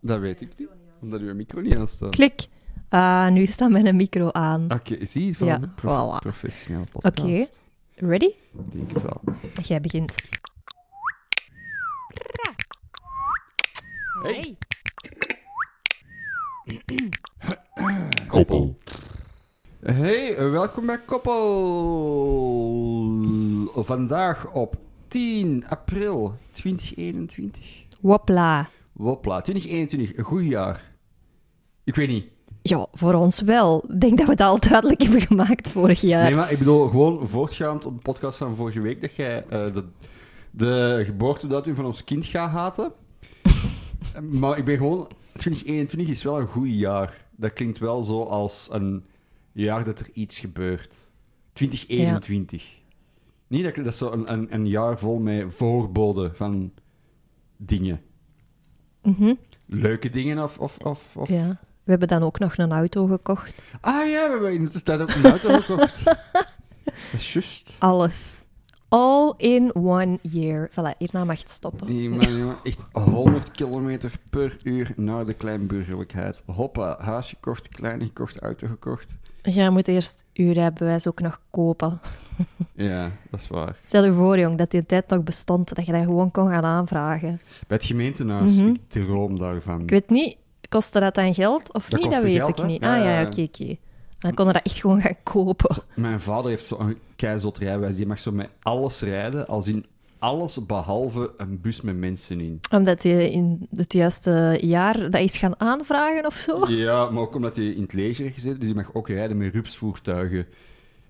Dat weet ik niet, omdat uw micro niet aan staat. Klik. Ah, nu staat mijn micro aan. Oké, zie je van Ja, de prof- voilà. professionele podcast. Oké. Ready? Ik denk het wel. Jij begint. Hey. Koppel. Hey, eh, welkom bij Koppel. Vandaag op 10 april 2021. Wopla. Wopla, 2021, een goed jaar. Ik weet niet. Ja, voor ons wel. Ik denk dat we dat al duidelijk hebben gemaakt vorig jaar. Nee, maar ik bedoel, gewoon voortgaand op de podcast van vorige week, dat jij eh, de, de geboortedatum van ons kind gaat haten. maar ik ben gewoon... 2021 is wel een goed jaar. Dat klinkt wel zo als een jaar dat er iets gebeurt. 2021. Niet dat, ik- dat is zo een, een, een jaar vol met voorboden van dingen. Mhm. Leuke dingen of, of, of, of Ja. We hebben dan ook nog een auto gekocht. Ah ja, we hebben in de tussentijd ook een auto gekocht. Dat is juist. Alles. All in one year. Voilà, hierna mag het stoppen. Die man, jongen, echt 100 kilometer per uur naar de kleinburgerlijkheid. Hoppa, huis gekocht, klein gekocht, auto gekocht. Jij moet eerst uw rijbewijs ook nog kopen. Ja, dat is waar. Stel je voor, jong, dat die tijd nog bestond, dat je dat gewoon kon gaan aanvragen. Bij het gemeentehuis, Mhm. ik droom daarvan. Ik weet niet, kostte dat dan geld of Dat niet? Dat kostte weet geld, ik hè? niet. Ja, ah ja, ja, ja. oké, oké. Dan konden we dat echt gewoon gaan kopen. Mijn vader heeft zo'n keizot rijwijs. Die mag zo met alles rijden, als in alles behalve een bus met mensen in. Omdat je in het juiste jaar dat is gaan aanvragen of zo. Ja, maar ook omdat hij in het leger heeft gezeten, dus die mag ook rijden met rupsvoertuigen.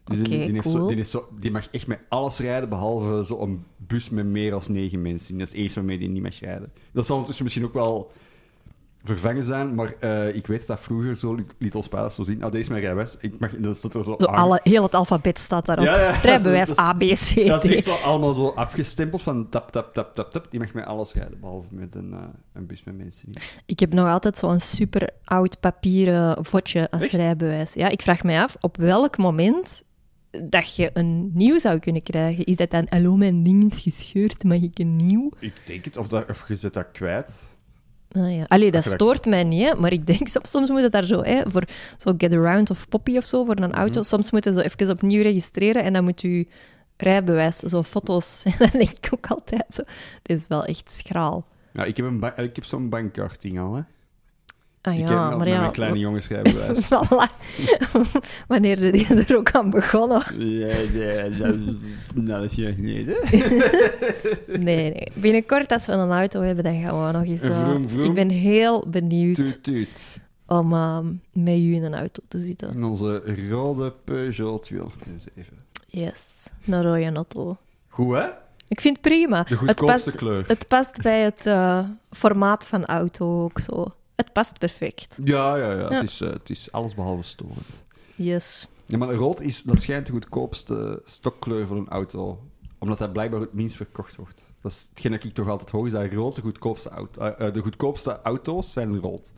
Dus die- Oké, die, heeft zo- cool. die, heeft zo- die mag echt met alles rijden, behalve zo'n bus met meer dan negen mensen. in. Dat is het eerste waarmee die niet mag rijden. Dat zal ondertussen misschien ook wel vervangen zijn, maar eh, ik weet dat vroeger zo liet, liet ons pa dat zo zien. Ah, deze is mijn rijbewijs. Ik mag, dat staat er zo, Zo aan. alle, heel het alfabet staat daarop. Ah. Ja, ja, dat is- Rijbewijs dat is- A, B, C, Dat is echt D. zo allemaal zo afgestempeld van tap, tap, tap, tap, tap. Die mag met alles rijden, behalve met een, eh, een bus met mensen. in. Ik heb nog altijd zo'n super oud papieren vodje als Echt? rijbewijs. Ja, ik vraag mij af op welk moment dat je een nieuw zou kunnen krijgen. Is dat dan, hallo, mijn ding is gescheurd, mag ik een nieuw? Ik denk het, of, dat, of je zet dat kwijt. Ah, ja. Allee, dat je dat- stoort mij niet, hè? maar ik denk soms, soms moet het daar zo, hè, voor zo get around of poppy of zo, voor een Mhm. auto. Soms moet je zo even opnieuw registreren en dan moet je rijbewijs, zo foto's. En dan denk ik ook altijd zo, dit is wel echt schraal. Ja, Nou, ik heb, een ba- ik heb zo'n bankkarting al, hè. Ah ik ja, heb al maar met ja. mijn kleine jongensrijbewijs. Voilà. Wanneer ze die er ook aan begonnen. ja, ja, dat, dat is juist niet, hè. Nee, nee. Binnenkort, als we een auto hebben, dan gaan we nog eens... Een eh, vroom, vroom. Ik ben heel benieuwd Tuut, tuut. om ehm, met u in een auto te zitten. In onze rode Peugeot 207. Yes, een rode auto. Goed, hè? Ik vind het prima. De het, goedkoopste past, kleur. het past bij het eh, formaat van auto ook zo. Het past perfect. Ja, ja, ja. Ja. Het, is, eh, het is alles behalve storend. Yes. Ja, maar rood is, dat schijnt de goedkoopste stokkleur van een auto. Omdat dat blijkbaar het minst verkocht wordt. Dat is hetgeen dat ik toch altijd hoor, is dat rood de goedkoopste, auto, eh, eh, de goedkoopste auto's zijn rood.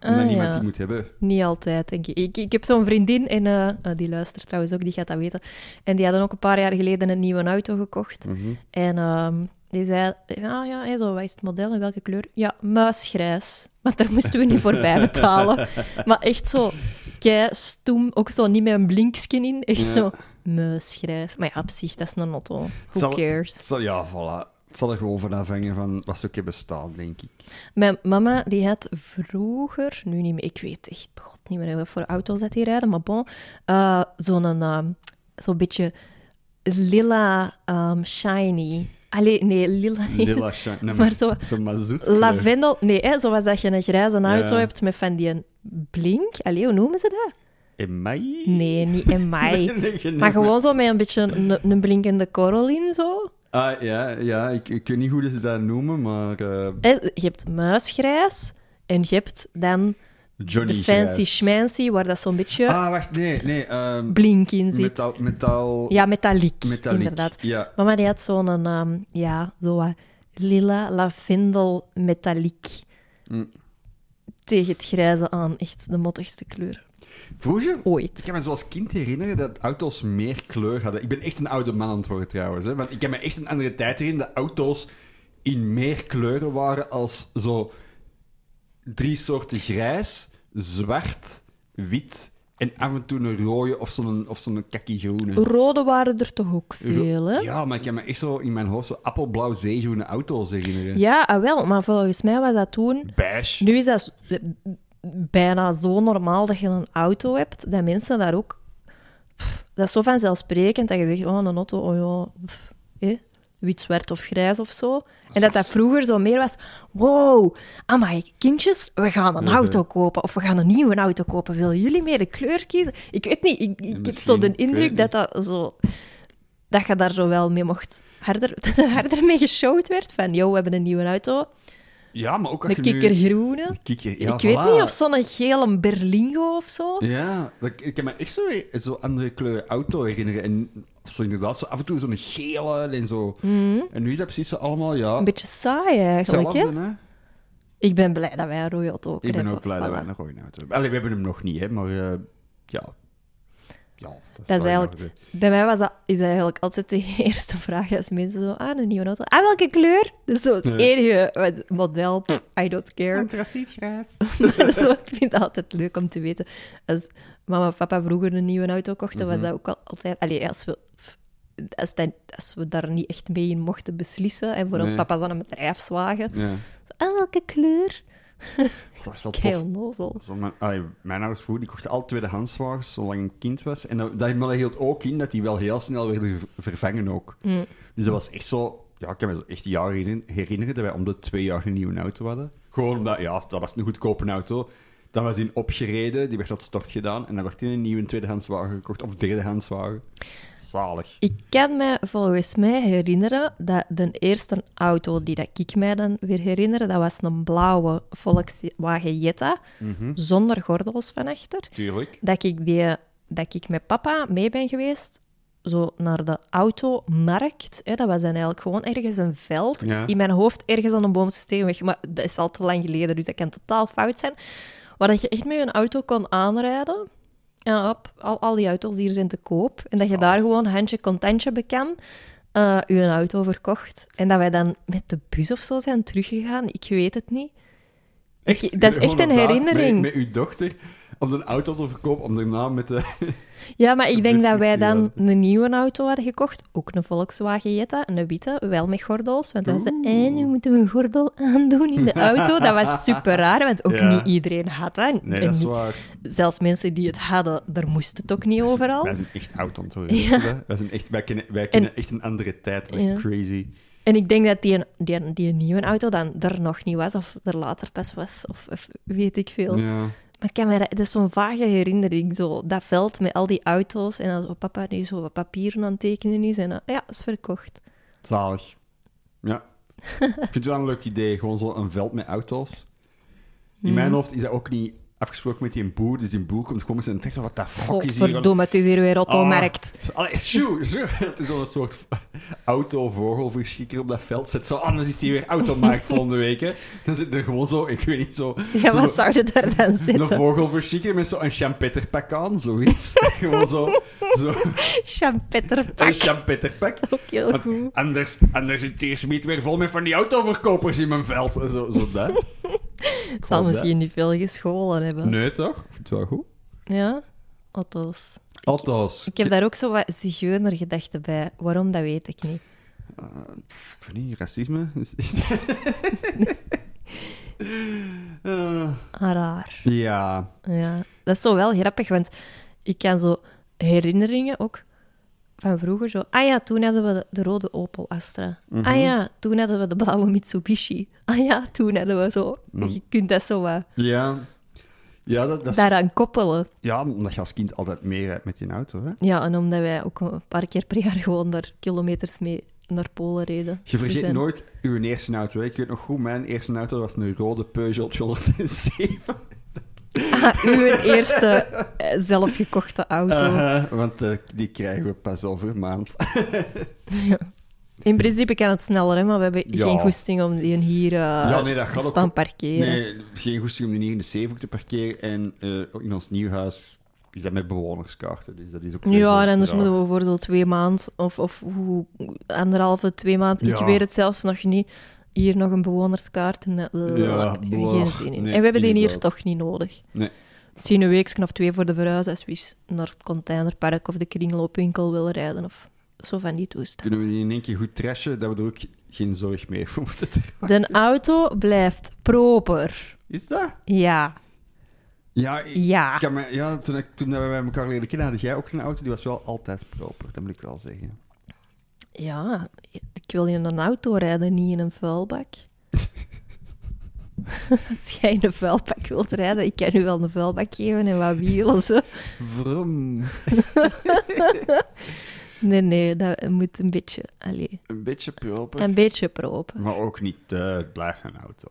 Omdat Ah, niemand ja. die moet hebben. Niet altijd, denk ik. Ik, ik heb zo'n vriendin, en eh, eh, die luistert trouwens ook, die gaat dat weten. En die hadden ook een paar jaar geleden een nieuwe auto gekocht. Mhm. En ehm, die zei, ja, ja, hè, zo, wat is het model en welke kleur? Ja, muisgrijs. Want daar moesten we niet voor bijbetalen. maar echt zo kei stoem, ook zo niet met een blinkskin in. Echt Ja. zo muisgrijs. Maar ja, op zich, dat is een auto. Who Het zal- cares? het zal- ja, voilà. Het zal er gewoon van afhangen van wat ze ook hebben staan, denk ik. Mijn mama die had vroeger, nu niet meer, ik weet echt bij god niet meer wat voor auto's dat die rijden, maar bon, eh, zo'n ehm, zo'n beetje lila ehm, shiny. Allee, nee, lila. niet. Lilla Shine. Nee, Maar zo- Zo'n mazoet. Lavendel, nee, hè, zoals dat je een grijze auto Ja. hebt met van die een blink. Allee, hoe noemen ze dat? In mei? Nee, niet in mij. Maar gewoon zo met een beetje een, een blinkende korrel in, zo. Ah, ja, ja ik, ik weet niet hoe ze dat noemen, maar... eh, Hè, Je hebt muisgrijs en je hebt dan Johnny de fancy Grijs. schmancy, waar dat zo'n beetje... Ah, wacht, nee, nee. ehm blink in zit. metaal, metaal... Ja, metalliek, metalliek. inderdaad. Ja. Mama die had zo'n, ehm, ja, zo wat lila lavendel metalliek. Mm. Tegen het grijze aan, echt de mottigste kleur Vroeger... Ik ooit. kan me zoals kind herinneren dat auto's meer kleur hadden. Ik ben echt een oude man aan het worden trouwens. Hè? Want ik kan me echt een andere tijd herinneren dat auto's in meer kleuren waren als zo drie soorten grijs, zwart, wit en af en toe een rode of zo'n, of zo'n kakkie-groene. Rode waren er toch ook veel, hè? Ja, maar ik heb me echt zo in mijn hoofd zo appelblauw zeegroene auto's herinneren. Ja, ah, wel, maar volgens mij was dat toen... Beige. Nu is dat z- bijna zo normaal dat je een auto hebt, dat mensen daar ook... Pff, dat is zo vanzelfsprekend dat je zegt, oh, een auto, oh ja, pff, hè, wit, zwart of grijs of zo. En dat dat vroeger zo meer was, wow, amai, kindjes, we gaan een auto kopen of we gaan een nieuwe auto kopen. Willen jullie meer de kleur kiezen? Ik weet niet, ik, ik heb zo misschien, de ik indruk weet dat dat zo... Dat je daar zo wel mee mocht... Harder, dat er harder mee geshowd werd van, yo, we hebben een nieuwe auto. Ja, maar ook als Een je nu- kikkergroene. Kikker, ja, ik weet voilà. niet of zo'n gele Berlingo of zo. Ja, dat, ik kan me echt zo, weer- zo andere kleuren auto herinneren. En zo inderdaad, zo af en toe zo'n gele en zo. En nu is dat precies zo allemaal, ja... Een Mhm. beetje saai eigenlijk. Hè? hetzelfde, hè? Ik ben blij dat wij een rode auto ook Ik ben hebben. ook blij dat Voilà. wij nog ooit een auto hebben. Allee, we hebben hem nog niet, hè, maar eh, ja. ja. Dat is eigenlijk, bij mij was dat, is dat eigenlijk altijd de eerste vraag als mensen zo, ah, een nieuwe auto. Ah, welke kleur? Dat is zo het Ja. enige wat- model, pff, I don't care. Antracietgrijs. Maar zo, ik vind dat altijd leuk om te weten. Als mama of papa vroeger een nieuwe auto kochten, Mhm. was dat ook al, altijd... Allee, als we, als, dat- als we daar niet echt mee in mochten beslissen, en vooral Nee. papa's aan een bedrijfswagen, Ja. Ah, welke kleur? eh, Dat is wel Kei tof. onnozel. Zo, mijn, allee, mijn ouders vroeger, die kochten al tweedehandswagens, zolang ik een kind was. En dat, dat, maar dat hield ook in dat die wel heel snel werden ver- vervangen ook. Mm. Dus dat was echt zo... Ja, ik kan me zo echt jaren herinner- herinneren dat wij om de twee jaar een nieuwe auto hadden. Gewoon omdat, ja, dat was een goedkope auto. Dan was die opgereden, die werd tot stort gedaan. En dan werd die een nieuwe tweedehandswagen gekocht, of derdehandswagen. Zalig. Ik kan me volgens mij herinneren dat de eerste auto die dat ik mij dan weer herinner, dat was een blauwe Volkswagen Jetta, zonder gordels van achter. Tuurlijk. Dat ik, die, dat ik met papa mee ben geweest, zo naar de automarkt. Hè, dat was dan eigenlijk gewoon ergens een veld. Ja. In mijn hoofd ergens aan een boomsteenweg, maar dat is al te lang geleden, dus dat kan totaal fout zijn. Waar dat je echt met een auto kon aanrijden. Ja, op, al, al die auto's hier zijn te koop. En dat je daar gewoon handje contentje bekan, eh je auto verkocht. En dat wij dan met de bus of zo zijn teruggegaan, ik weet het niet. Ik- dat is echt Gewoon een op daar herinnering. Met, met uw dochter om een auto te verkopen, om daarna met de... Ja, maar ik denk dat wij Rustig, dan een nieuwe auto hadden gekocht. Ook een Volkswagen Jetta, een witte, wel met gordels. Want dan zeiden ze, "Eh, nu moeten we een gordel aandoen in de auto. Dat was super raar, want ook Ja. niet iedereen had dat. Nee, En dat is niet- waar. Dus Zelfs mensen die het hadden, daar moest het ook niet overal. Wij zijn echt oud aan het worden, weet je dat? Wij, zijn echt, wij kennen, wij kennen echt een andere tijd. Dat is echt Ja. crazy. En ik denk dat die, die, die nieuwe auto dan er nog niet was, of er later pas was, of, of weet ik veel. Ja. Maar ik kan me dat, dat is zo'n vage herinnering, zo, dat veld met al die auto's en dan zo papa die zo wat papieren aan het tekenen is en dan, ja, is verkocht. Zalig. Ja. Ik vind het wel een leuk idee. Gewoon zo'n veld met auto's. In Hmm. mijn hoofd is dat ook niet afgesproken met die boer. Dus die boer komt gewoon met zijn trechter. Wat de fuck is hier? Godverdomme, het is hier weer automarkt. Ah, allee, sjoe, sjoe. Het is zo'n soort auto-vogelverschrikker op dat veld. Zet zo, anders is die weer automarkt volgende week. Hè. Dan zit er gewoon zo, ik weet niet, zo... Ja, zo wat zou je daar dan een zitten? vogelverschrikker met zo'n champetterpak aan, zoiets. gewoon zo, zo Champetterpak, een champetterpak. ook heel Oh, goed. Want anders, anders zit Teersmiet weer vol met van die autoverkopers in mijn veld. Zo, zo dat. Het zal hoop dat. misschien niet veel gescholen hebben. Nee, toch? Ik vind het wel goed. Ja, auto's. Auto's. Ik heb daar ook zo wat zigeunergedachten bij. Waarom, dat weet ik niet. Ik weet niet, racisme? Is, is... Eh, Raar. ja, Ja, dat is zo wel grappig, want ik kan zo herinneringen ook van vroeger zo... Ah ja, toen hadden we de, de rode Opel Astra. Mhm. Ah ja, toen hadden we de blauwe Mitsubishi. Ah ja, toen hadden we zo... Je kunt dat zo wat ja. Ja, dat, dat is- daaraan koppelen. ja, omdat je als kind altijd meer hebt met die auto. Hè? Ja, en omdat wij ook een paar keer per jaar gewoon daar kilometers mee naar Polen reden. Je vergeet Dus, eh, nooit uw eerste auto. hè. Ik weet nog goed, mijn eerste auto was een rode Peugeot 207. Ah, uw eerste eh, zelfgekochte auto. Eh, want eh, die krijgen we pas over een maand. In principe kan het sneller, hè, maar we hebben Ja. geen goesting om die hier eh Ja, nee, dat gaat te ook- staan parkeren. Nee, geen goesting om die 79 te parkeren. En eh, in ons nieuw huis is dat met bewonerskaarten. Dus dat is ook Ja, en anders moeten we voor zo twee maand of, of hoe, anderhalve, twee maand, ik Ja. weet het zelfs nog niet, hier nog een bewonerskaart en eh, Ja, geen blah. zin in. Nee, en we hebben die hier inderdaad. toch niet nodig. Nee. Misschien een week of twee voor de verhuis als we eens naar het containerpark of de kringloopwinkel willen rijden of zo van die toestand. Kunnen we die in één keer goed trashen, dat we er ook geen zorg meer voor moeten dragen? De auto blijft proper. Is dat? Ja, Ja, ik- ja. ik kan me- ja toen, ik, toen dat we bij elkaar leren kennen, had jij ook een auto. Die was wel altijd proper, dat moet ik wel zeggen. Ja, ik wil in een auto rijden, niet in een vuilbak. Als jij in een vuilbak wilt rijden, ik kan u wel een vuilbak geven en wat wielen. Zo. Vrum. Nee, nee, dat moet een beetje, allee, Een beetje proper. een beetje proper. Maar ook niet, eh, het blijft een auto.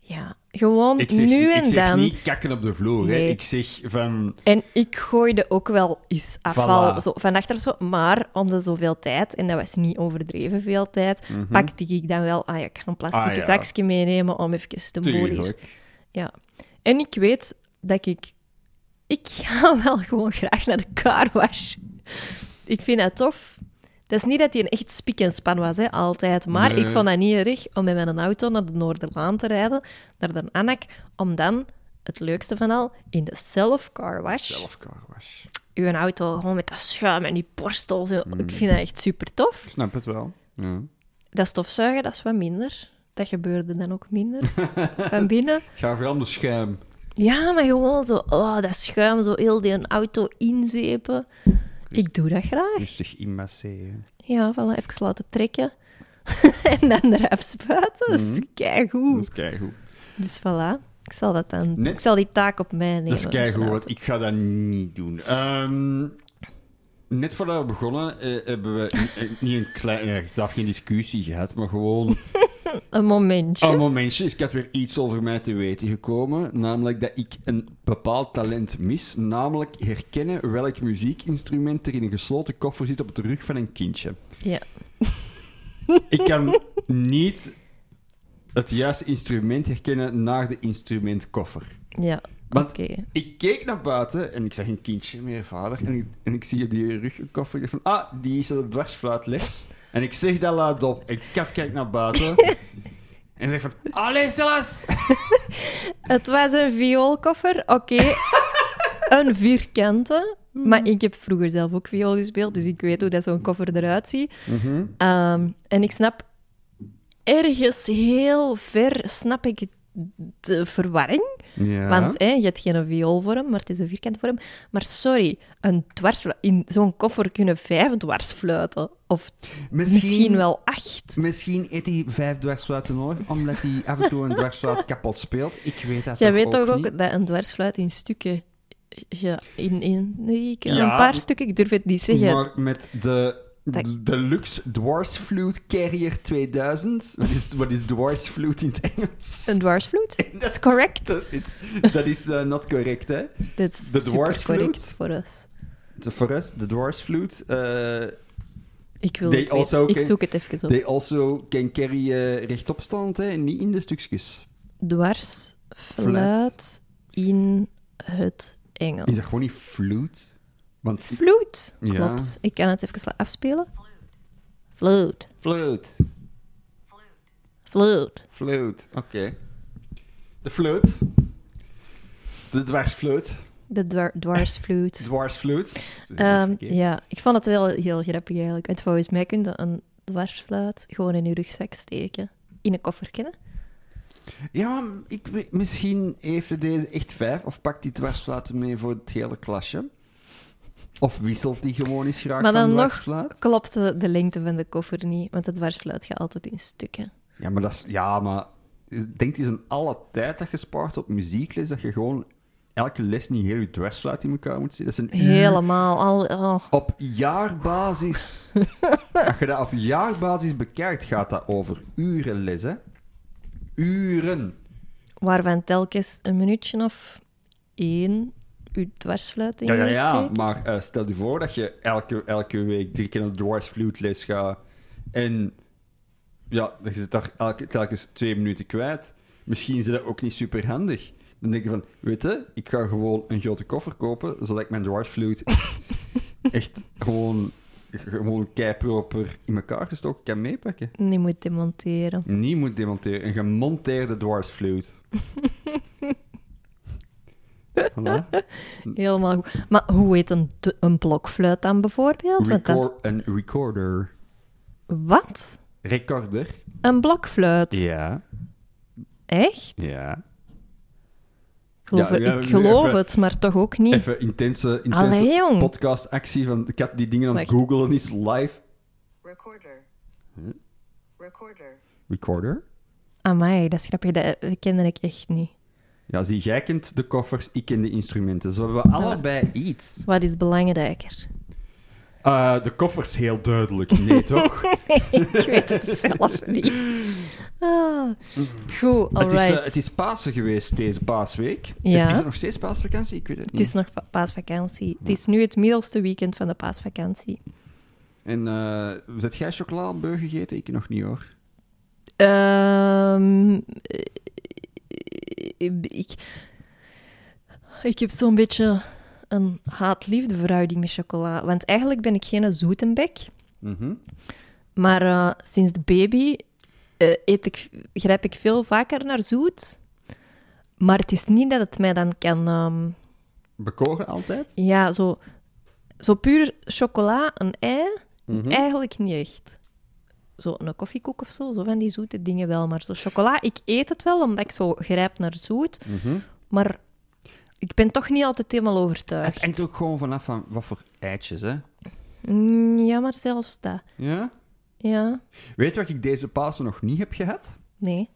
Ja, gewoon Ik zeg, nu en ik zeg dan. niet kakken op de vloer. Hè. Nee. Ik zeg van, En ik gooide ook wel eens afval Voilà. zo, van achter of zo, maar om de zoveel tijd, en dat was niet overdreven veel tijd, pakte ik dan wel, ah ja, ik ga een plastic Mhm. Ah ja. zakje meenemen om even de boel hier tuurlijk. Ja. En ik weet dat ik... Ik ga wel gewoon graag naar de carwash. Ik vind dat tof. Het is niet dat hij een echt spiek en span was, hè, altijd. Maar Nee. ik vond dat niet erg om met mijn auto naar de Noorderlaan te rijden, naar de Anak, om dan, het leukste van al, in de self-carwash, Zelf car wash. uw auto gewoon met dat schuim en die borstels. en- Ik vind dat echt super tof. Ik snap het wel. Ja. Dat stofzuigen, dat is wat minder. Dat gebeurde dan ook minder van binnen. Ik ga vooral de schuim. Ja, maar gewoon zo, oh, dat schuim, zo heel die auto inzepen. Dus- Ik doe dat graag. Rustig inmasseren. Ja, voilà, even laten trekken. en dan eraf spuiten. Dat is Dat keigoed. is keigoed. Dus voilà, ik zal, dat dan, Nee. ik zal die taak op mij nemen. Dat is met een keigoed, auto. want ik ga dat niet doen. Ehm, net voordat we begonnen eh, hebben we eh, eh, niet een kleine, zelf geen discussie gehad, maar gewoon Een momentje. een momentje. Is ik had weer iets over mij te weten gekomen, namelijk dat ik een bepaald talent mis, namelijk herkennen welk muziekinstrument er in een gesloten koffer zit op de rug van een kindje. Ja. Ik kan niet het juiste instrument herkennen naar de instrumentkoffer. Ja, oké. Want- Ik keek naar buiten en ik zag een kindje meer vader. En ik, en ik zie op die rug een koffer. Ik dacht van, ah, die is op dwarsfluitles. En ik zeg dat luidop. En Kat kijkt naar buiten. en zegt van, allee, Silas! Het was een vioolkoffer, oké. een vierkante. Maar ik heb vroeger zelf ook viool gespeeld, dus ik weet hoe dat zo'n koffer eruit ziet. Ehm, en ik snap ergens heel ver, snap ik de verwarring. Ja. Want hè, je hebt geen vioolvorm, maar het is een vierkantvorm. Maar sorry, een dwarsfluit, in zo'n koffer kunnen vijf dwarsfluiten. Of misschien wel acht. Misschien eet hij vijf dwarsfluiten hoor, omdat hij af en toe een dwarsfluit kapot speelt. Ik weet dat Jij toch weet toch ook niet. dat een dwarsfluit in stukken... Ja, in, in, nee, ik- Ja. een paar stukken, ik durf het niet zeggen. Maar met de... Dat- Deluxe Dwarfs Flute Carrier 2000. Wat is, wat is Dwarfs Flute in het Engels? Een dwarsfluit? Dat is correct. Dat is, iets- dat is eh, not correct, hè? Dat is de super dwarsfluit? correct voor ons. The Forest, The Dwarfs Flute. eh, Ik wil They het weten. also Ik can- zoek het even op. they also can carry eh, rechtop staand, hè, en niet in de stukjes. Dwarsfluit in het Engels. Is dat gewoon niet flute? Want Fluit, Ja. klopt. Ik kan het even afspelen. Fluit. flute, Fluit. flute, oké. De flute. De dwarsfluit. De dwar dwarsfluit. Dwarsfluit. Dus Ehm, verkeerd. ja, ik vond het wel heel grappig eigenlijk. Want volgens mij kun je een dwarsfluit gewoon in je rugzak steken. In een koffer kennen. Ja, maar ik, weet- misschien heeft hij deze echt vijf of pakt die dwarsfluiten mee voor het hele klasje. Of wisselt die gewoon eens graag Maar van dan nog dwarsfluit. klopte de lengte van de koffer niet. Want de dwarsfluit gaat altijd in stukken. Ja, maar dat is... Ja, maar... Denk eens aan alle tijd dat je spaart op muziekles, dat je gewoon elke les niet heel je dwarsfluit in elkaar moet zitten. Dat is een uur. Helemaal. Al, oh. Op jaarbasis... Als je dat op jaarbasis bekijkt, gaat dat over uren les, hè? Uren. Waarvan telkens een minuutje of één uw dwarsfluit in Ja, ja, je ja. steekt. Maar eh, stel je voor dat je elke, elke week drie keer een dwarsfluitles gaat en ja, dan zit daar elke, telkens twee minuten kwijt. Misschien is dat ook niet super handig. Dan denk je van, weet je, ik ga gewoon een grote koffer kopen, zodat ik mijn dwarsfluit echt gewoon gewoon keiproper in elkaar gestoken kan meepakken. Die moet demonteren. Niet moet demonteren. Een gemonteerde dwarsfluit. voilà. Helemaal goed. Maar hoe heet een, d- een blokfluit dan bijvoorbeeld? Want dat is- Record, een recorder. Wat? Recorder? Een blokfluit? Ja. Echt? Ja. Ik geloof, Ja, ja, ik nu geloof even- het, maar toch ook niet. Even intense, Allee, intense jong. podcastactie van... Ik had die dingen aan het Wacht. googlen, is live. Recorder. Recorder. Recorder? Amai, dat is grappig. Dat kende ik echt niet. Ja, zie, jij kent de koffers, ik ken de instrumenten. Zo hebben we allebei iets. Wat is belangrijker? Eh, de koffers heel duidelijk, nee toch? ik weet het zelf niet. Ah. Goed, het, is, alright. eh, het is Pasen geweest deze paasweek. Ja. Is er nog steeds paasvakantie? Ik weet het niet. nog va- paasvakantie. Het is nu het middelste weekend van de paasvakantie. En eh zet jij chocoladeburger gegeten? Ik nog niet hoor. Ehm, eh, ik, ik heb zo'n beetje een haat-liefde verhouding met chocola. Want eigenlijk ben ik geen zoetenbek. Mhm. Maar eh, sinds de baby eh, eet ik, grijp ik veel vaker naar zoet. Maar het is niet dat het mij dan kan... ehm, Bekoren altijd? ja, zo, zo puur chocola, een ei, eigenlijk niet echt. Zo een koffiekoek of zo, zo van die zoete dingen wel. Maar zo chocola, ik eet het wel, omdat ik zo grijp naar zoet. Maar ik ben toch niet altijd helemaal Het overtuigd. hangt ook gewoon vanaf van wat voor eitjes, hè? Mm, ja, maar zelfs dat. Ja? Ja, Weet je wat ik deze Pasen nog niet heb gehad? nee.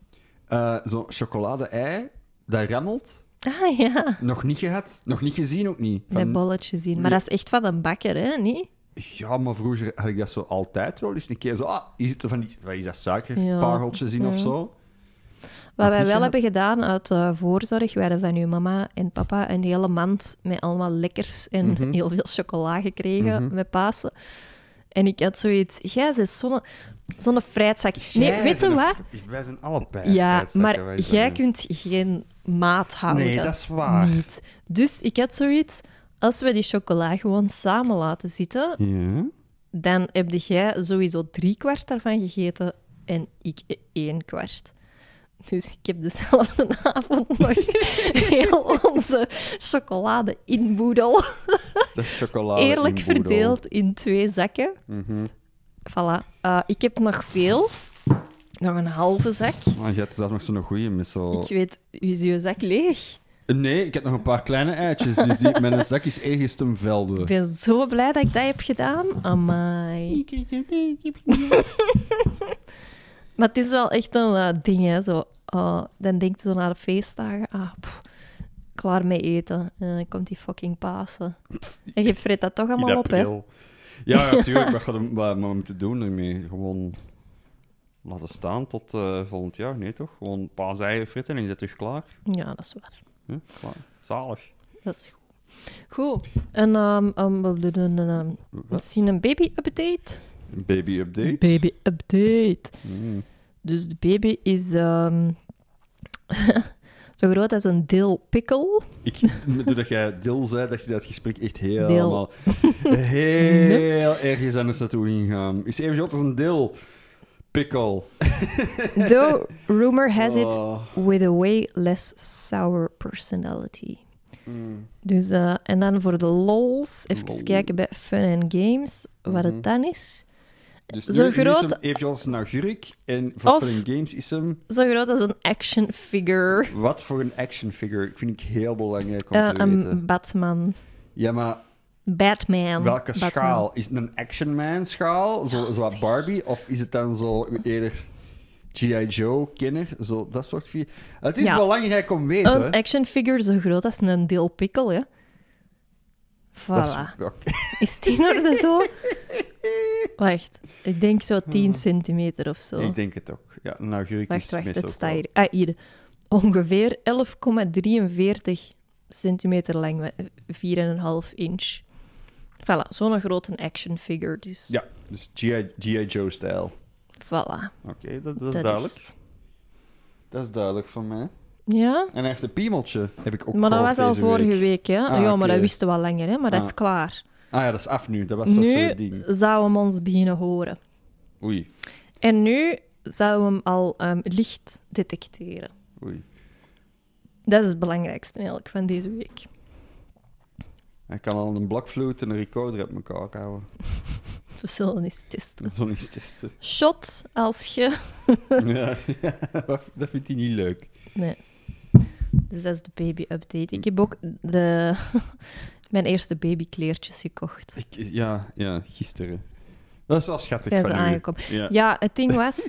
Eh, Zo'n chocolade-ei, dat rammelt. Ah ja, Nog niet gehad. Nog niet gezien, ook niet. Van- met bolletjes zien. Maar dat is echt van een bakker, hè? Niet? Ja, maar vroeger had ik dat zo altijd wel eens een keer zo. Ah, is het er van die, wat is dat Ja. suikerpareltjes in of Ja. zo? Wat wij niet wel gehad? hebben gedaan uit eh, voorzorg, wij hadden van uw mama en papa een hele mand met allemaal lekkers en Mhm. heel veel chocola gekregen met Pasen. En ik had zoiets, jij bent zo'n zo'n fruitzak. Nee, Jij weet je bent een wat? v- Wij zijn allebei. Ja, fruitzakken, maar wij zijn- jij kunt geen maat houden. Nee, dat is waar. Niet. Dus ik had zoiets, als we die chocola gewoon samen laten zitten, Ja. dan heb jij sowieso drie kwart daarvan gegeten en ik e- één kwart. Dus ik heb dezelfde avond nog heel onze chocolade inboedel Dat is chocolade. eerlijk Oh, in boedel. Mhm. verdeeld in twee zakken. Voilà. Eh, ik heb nog veel. Nog een halve zak. Maar je hebt zelf nog zo'n goeie met zo. Ik weet, is uw zak leeg? Nee, ik heb nog een paar kleine eitjes. Dus die, mijn zak is ergens ten Ik velde. ben zo blij dat ik dat heb gedaan. Amai. maar het is wel echt een eh, ding, hè. Zo, eh, dan denk je zo naar de feestdagen. Ah, pff, klaar mee eten. En dan komt die fucking Pasen. En je vreet dat toch allemaal op, hè. Ja, natuurlijk. wat gaan we wat moeten doen ermee? Gewoon laten staan tot eh, volgend jaar. Nee, toch? Gewoon paaseieren fritten en je zit terug klaar. Ja, dat is waar. Hm? klaar. Zalig. Dat is goed. Goed. En ehm, ehm, we doen een, ehm, misschien een baby-update? Baby-update. Baby-update. Dus de baby is ehm, zo groot als een deel pikkel. Ik, doordat jij dil zei, dacht ik dat het gesprek echt helemaal heel ergens anders naartoe ging gaan. Is even als een dil. Pikkel. Though rumor has it, Oh. with a way less sour personality. Dus, eh, en dan voor de lols, even Hmm. Lol. Mhm. kijken bij Fun and Games, wat het dan is. Dus Zo nu, nu is groot- hem even als een augurk. En voor Of- Fun Games is hem... Zo groot als een action figure. Wat voor een action figure. Ik vind ik heel belangrijk om Eh, te een weten. Batman. Ja, maar Batman. welke Batman. schaal? Is het een Action Man schaal? Zo, Oh, zo wat zeg. Barbie? Of is het dan zo eerder... G.I. Joe-kenner, zo dat soort figuur. Het is Ja. belangrijk om te weten. Een action figure zo groot als een deel pikkel, hè. Dat is- Voilà. oké. Is die in orde zo? Wacht, ik denk zo 10 centimeter of zo. Hmm. Ik denk het ook. Ja, een augurk Wacht, is wacht, meestal het ook staat wel- hier. Ah, hier. Ongeveer 11,43 centimeter lang, eh, wa- 4,5 inch. Voilà, zo'n grote action figure dus. Ja, dus G.I. G.I. Joe-stijl. Voilà. Oké, dat, dat is dat duidelijk. het. Dat is duidelijk van mij. Ja, En hij heeft een piemeltje, heb ik ook maar dat gehoord was al deze vorige week, hè. Ah, ja, maar oké. dat wisten we al langer, hè. Maar dat Ah. is klaar. Ah ja, dat is af nu. Dat was toch Nu zo'n ding. zouden we ons beginnen horen. Oei, En nu zouden we hem al ehm, licht detecteren. oei. Dat is het belangrijkste eigenlijk van deze week. Hij kan al een blokfluit en een recorder op elkaar houden. We zullen eens testen. Dat is wel eens testen. Shot als je... ja, dat vindt hij niet leuk. Nee. Dus dat is de baby-update. Ik heb ook de... mijn eerste babykleertjes gekocht. Ik, ja, ja, gisteren. Dat is wel schattig Zijn ze van u. aangekomen. Ja. Ja, het ding was...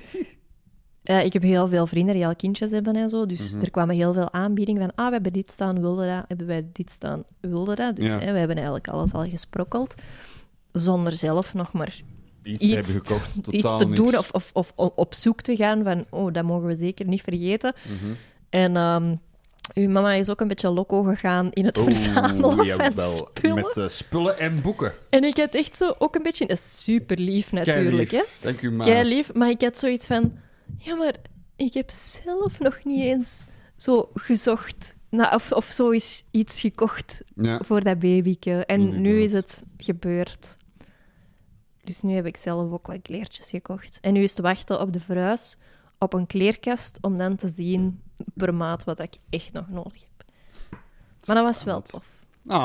eh, ik heb heel veel vrienden die al kindjes hebben en zo. Dus Mhm. er kwamen heel veel aanbiedingen van... Ah, we hebben dit staan, wilde dat. Hebben wij dit staan, wilde dat. Dus Ja. hè, we hebben eigenlijk alles al gesprokkeld. Zonder zelf nog maar Iets, te iets, hebben gekocht, totaal iets te niks. doen of, of, of o- op zoek te gaan van... Oh, dat mogen we zeker niet vergeten. Mhm. En... ehm, uw mama is ook een beetje loco gegaan in het Oeh, verzamelen van jawel. spullen. Met eh, spullen en boeken. En ik had echt zo ook een beetje... Dat is super lief natuurlijk, hè. Keilief. Dank u, ma. Kei lief, maar ik had zoiets van: ja, maar ik heb zelf nog niet eens zo gezocht na, of, of zo is iets gekocht Ja. voor dat babyke. En nu Inderdaad. is het gebeurd. Dus nu heb ik zelf ook wat kleertjes gekocht. En nu is te wachten op de verhuis, op een kleerkast, om dan te zien per maat wat ik echt nog nodig heb. Maar dat was wel Spannend. tof.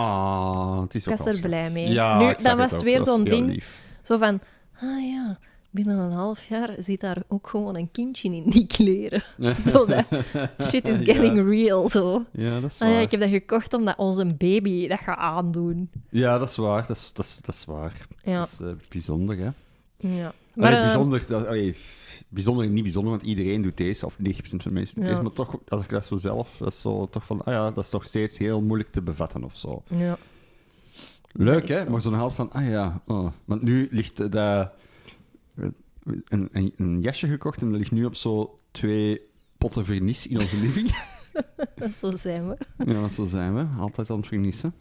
Ah, het is Ik ook was al er blij mee. Ja, nu, ik zag dan het was het ook. weer Dat is zo'n heel ding. lief. Zo van, ah ja, binnen een half jaar zit daar ook gewoon een kindje in die kleren. zo dat, shit is getting real, zo. Ja, dat is Ah waar. ja, ik heb dat gekocht omdat onze baby dat gaat aandoen. Ja, dat is waar. Dat is, dat is, dat is waar. Ja. Dat is eh, bijzonder, hè? Ja. Maar, Maar, eh, bijzonder, dat, allee, f- bijzonder, en niet bijzonder, want iedereen doet deze, of 90% van de mensen doet Ja. deze, maar toch, als ik dat zo zelf, dat is zo toch van, ah ja, dat is nog steeds heel moeilijk te bevatten of zo. ja. Leuk, is hè? zo. Maar zo'n half van, ah ja, oh. want nu ligt eh, dat... Een, een, een jasje gekocht en dat ligt nu op zo twee potten vernis in onze living. zo zijn we. ja, want zo zijn we, altijd aan het vernissen.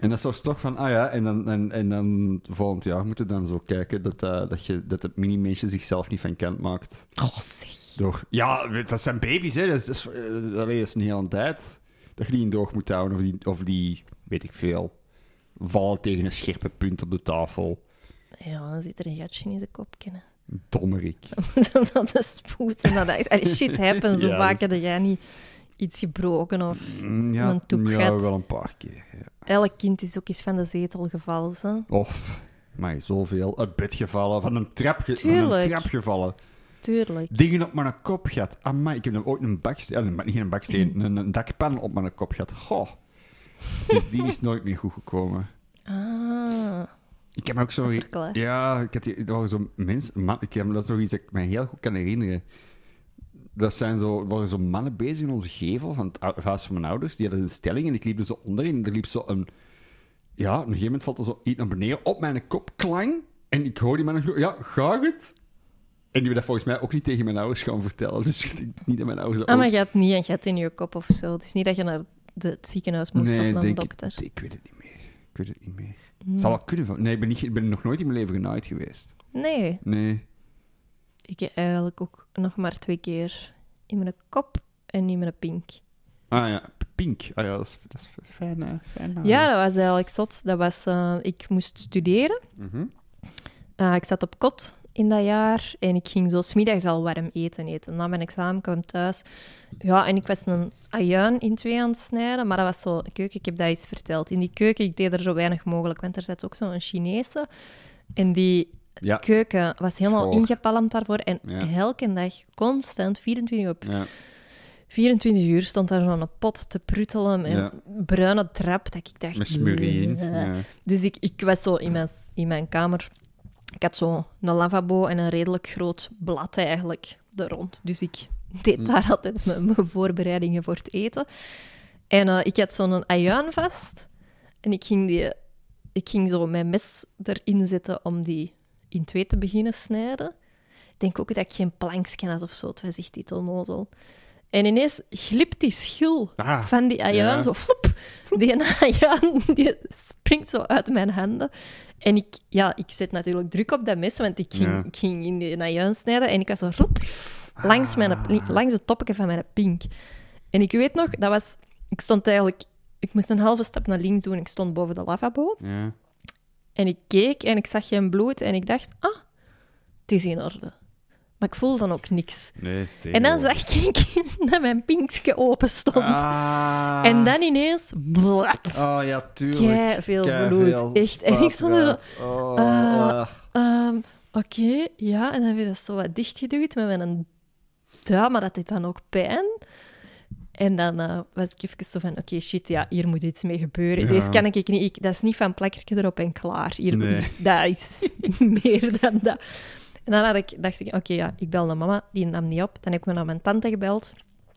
en dat zorgt toch van, ah ja, en dan, en, en dan volgend jaar moeten we dan zo kijken dat, eh, dat, je, dat het mini-mensje zichzelf niet van kant maakt. Oh, zeg. Door, ja, weet- dat zijn baby's, hè. Dat is, dat is, eh, allee, dat is een hele tijd. Dat je die in doog moet houden. Of die, of die, weet ik veel, vallen tegen een scherpe punt op de tafel. Ja, dan zit er een gatje in zijn kop, kennen. Dommerik. Dan dat is spoed. En dat is, allee, shit happens, zo Ja, vaak dat heb jij niet iets gebroken of... Mm, Ja, Een toekgat. ja, wel een paar keer. Ja. Elk kind is ook eens van de zetel gevallen, hè. Of, maar zoveel, uit bed gevallen, van een trap, ge- van Tuurlijk. een trap gevallen. Tuurlijk. Dingen op mijn kop gehad. Amai, ik heb nog ooit een baksteen, eh, maar niet een baksteen, een, een dakpan op mijn kop gehad. Goh. die is nooit meer goed gekomen. Ah, Ik heb ook zo... Dat verklaart. Ja, ik had die, er waren zo mensen... Man, ik heb, dat is nog iets dat ik me heel goed kan herinneren. Dat zijn zo, er waren zo mannen bezig in onze gevel van het ou- huis van mijn ouders. Die hadden een stelling en ik liep er zo onder en er liep zo een... Ja, op een gegeven moment valt er zo iets naar beneden op mijn kop, klang. En ik hoor die mannen zo, ja, ga het? En die hebben dat volgens mij ook niet tegen mijn ouders gaan vertellen. Dus ik denk niet dat mijn ouders dat ah ook- maar je had niet en je had in je kop of zo. Het is niet dat je naar de, het ziekenhuis moest of naar de denk dokter. Ik, ik weet het niet meer. Ik weet het niet meer. Het zou wel kunnen. van- Nee, ik ben, niet, ik ben nog nooit in mijn leven genaaid geweest. Nee, Nee. ik heb eigenlijk ook nog maar twee keer in mijn kop en in mijn pink. Ah ja, pink. Ah ja, dat is, dat is fijn. eh, fijn eh. Ja, dat was eigenlijk zot. Dat was, eh, ik moest studeren. Mhm. Eh, ik zat op kot in dat jaar en ik ging zo smiddags al warm eten eten. Na mijn examen kwam ik thuis. Ja, en ik was een ajuin in twee aan het snijden, maar dat was zo een keuken. Ik heb dat eens verteld. In die keuken, ik deed er zo weinig mogelijk, want er zat ook zo'n Chinese. En die Ja. keuken was helemaal Schoor. ingepalmd daarvoor. En Ja. elke dag, constant, 24 op Ja. 24 uur, stond daar zo'n pot te pruttelen. En Ja. bruine trap, dat ik dacht... Met smurrie in. Ja. Dus ik, ik was zo in mijn, in mijn kamer. Ik had zo een lavabo en een redelijk groot blad eigenlijk er rond. Dus ik deed daar altijd mijn, mijn voorbereidingen voor het eten. En eh, ik had zo'n ajuin vast. En ik ging, die, ik ging zo mijn mes erin zetten om die in twee te beginnen snijden. Ik denk ook dat ik geen plankje had of zo. Het was echt die onnozel. En ineens glipt die schil Ah, van die ajuin, ja. zo flop. Die ajuin die springt zo uit mijn handen. En ik, ja, ik zet natuurlijk druk op dat mes, want ik ging, Ja. ik ging in die ajuin snijden. En ik was zo flop, Ah. langs, mijn, langs het toppetje van mijn pink. En ik weet nog, dat was... Ik stond eigenlijk ik moest een halve stap naar links doen. Ik stond boven de lavabo. Ja. En ik keek en ik zag geen bloed. En ik dacht, ah, het is in orde. Maar ik voel dan ook niks. Nee, zeker. En dan zag ik dat mijn pinkje open stond. Ah. En dan ineens, blak, Oh ja, tuurlijk. Kei veel bloed, echt. En ik stond er zo, spaatpraat. Oh, eh, ah. Ehm, Oké, ja, en dan heb je dat zo wat dichtgeduwd met mijn duim, maar dat deed dan ook pijn. En dan eh, was ik even zo van, oké, shit, ja, hier moet iets mee gebeuren. Ja. Deze kan ik niet, ik- dat is niet van plakkertje erop en klaar. Hier, Nee. hier- dat is meer dan dat. En dan had ik, dacht ik, oké, ja, ik bel naar mama, die nam niet op. Dan heb ik me naar mijn tante gebeld.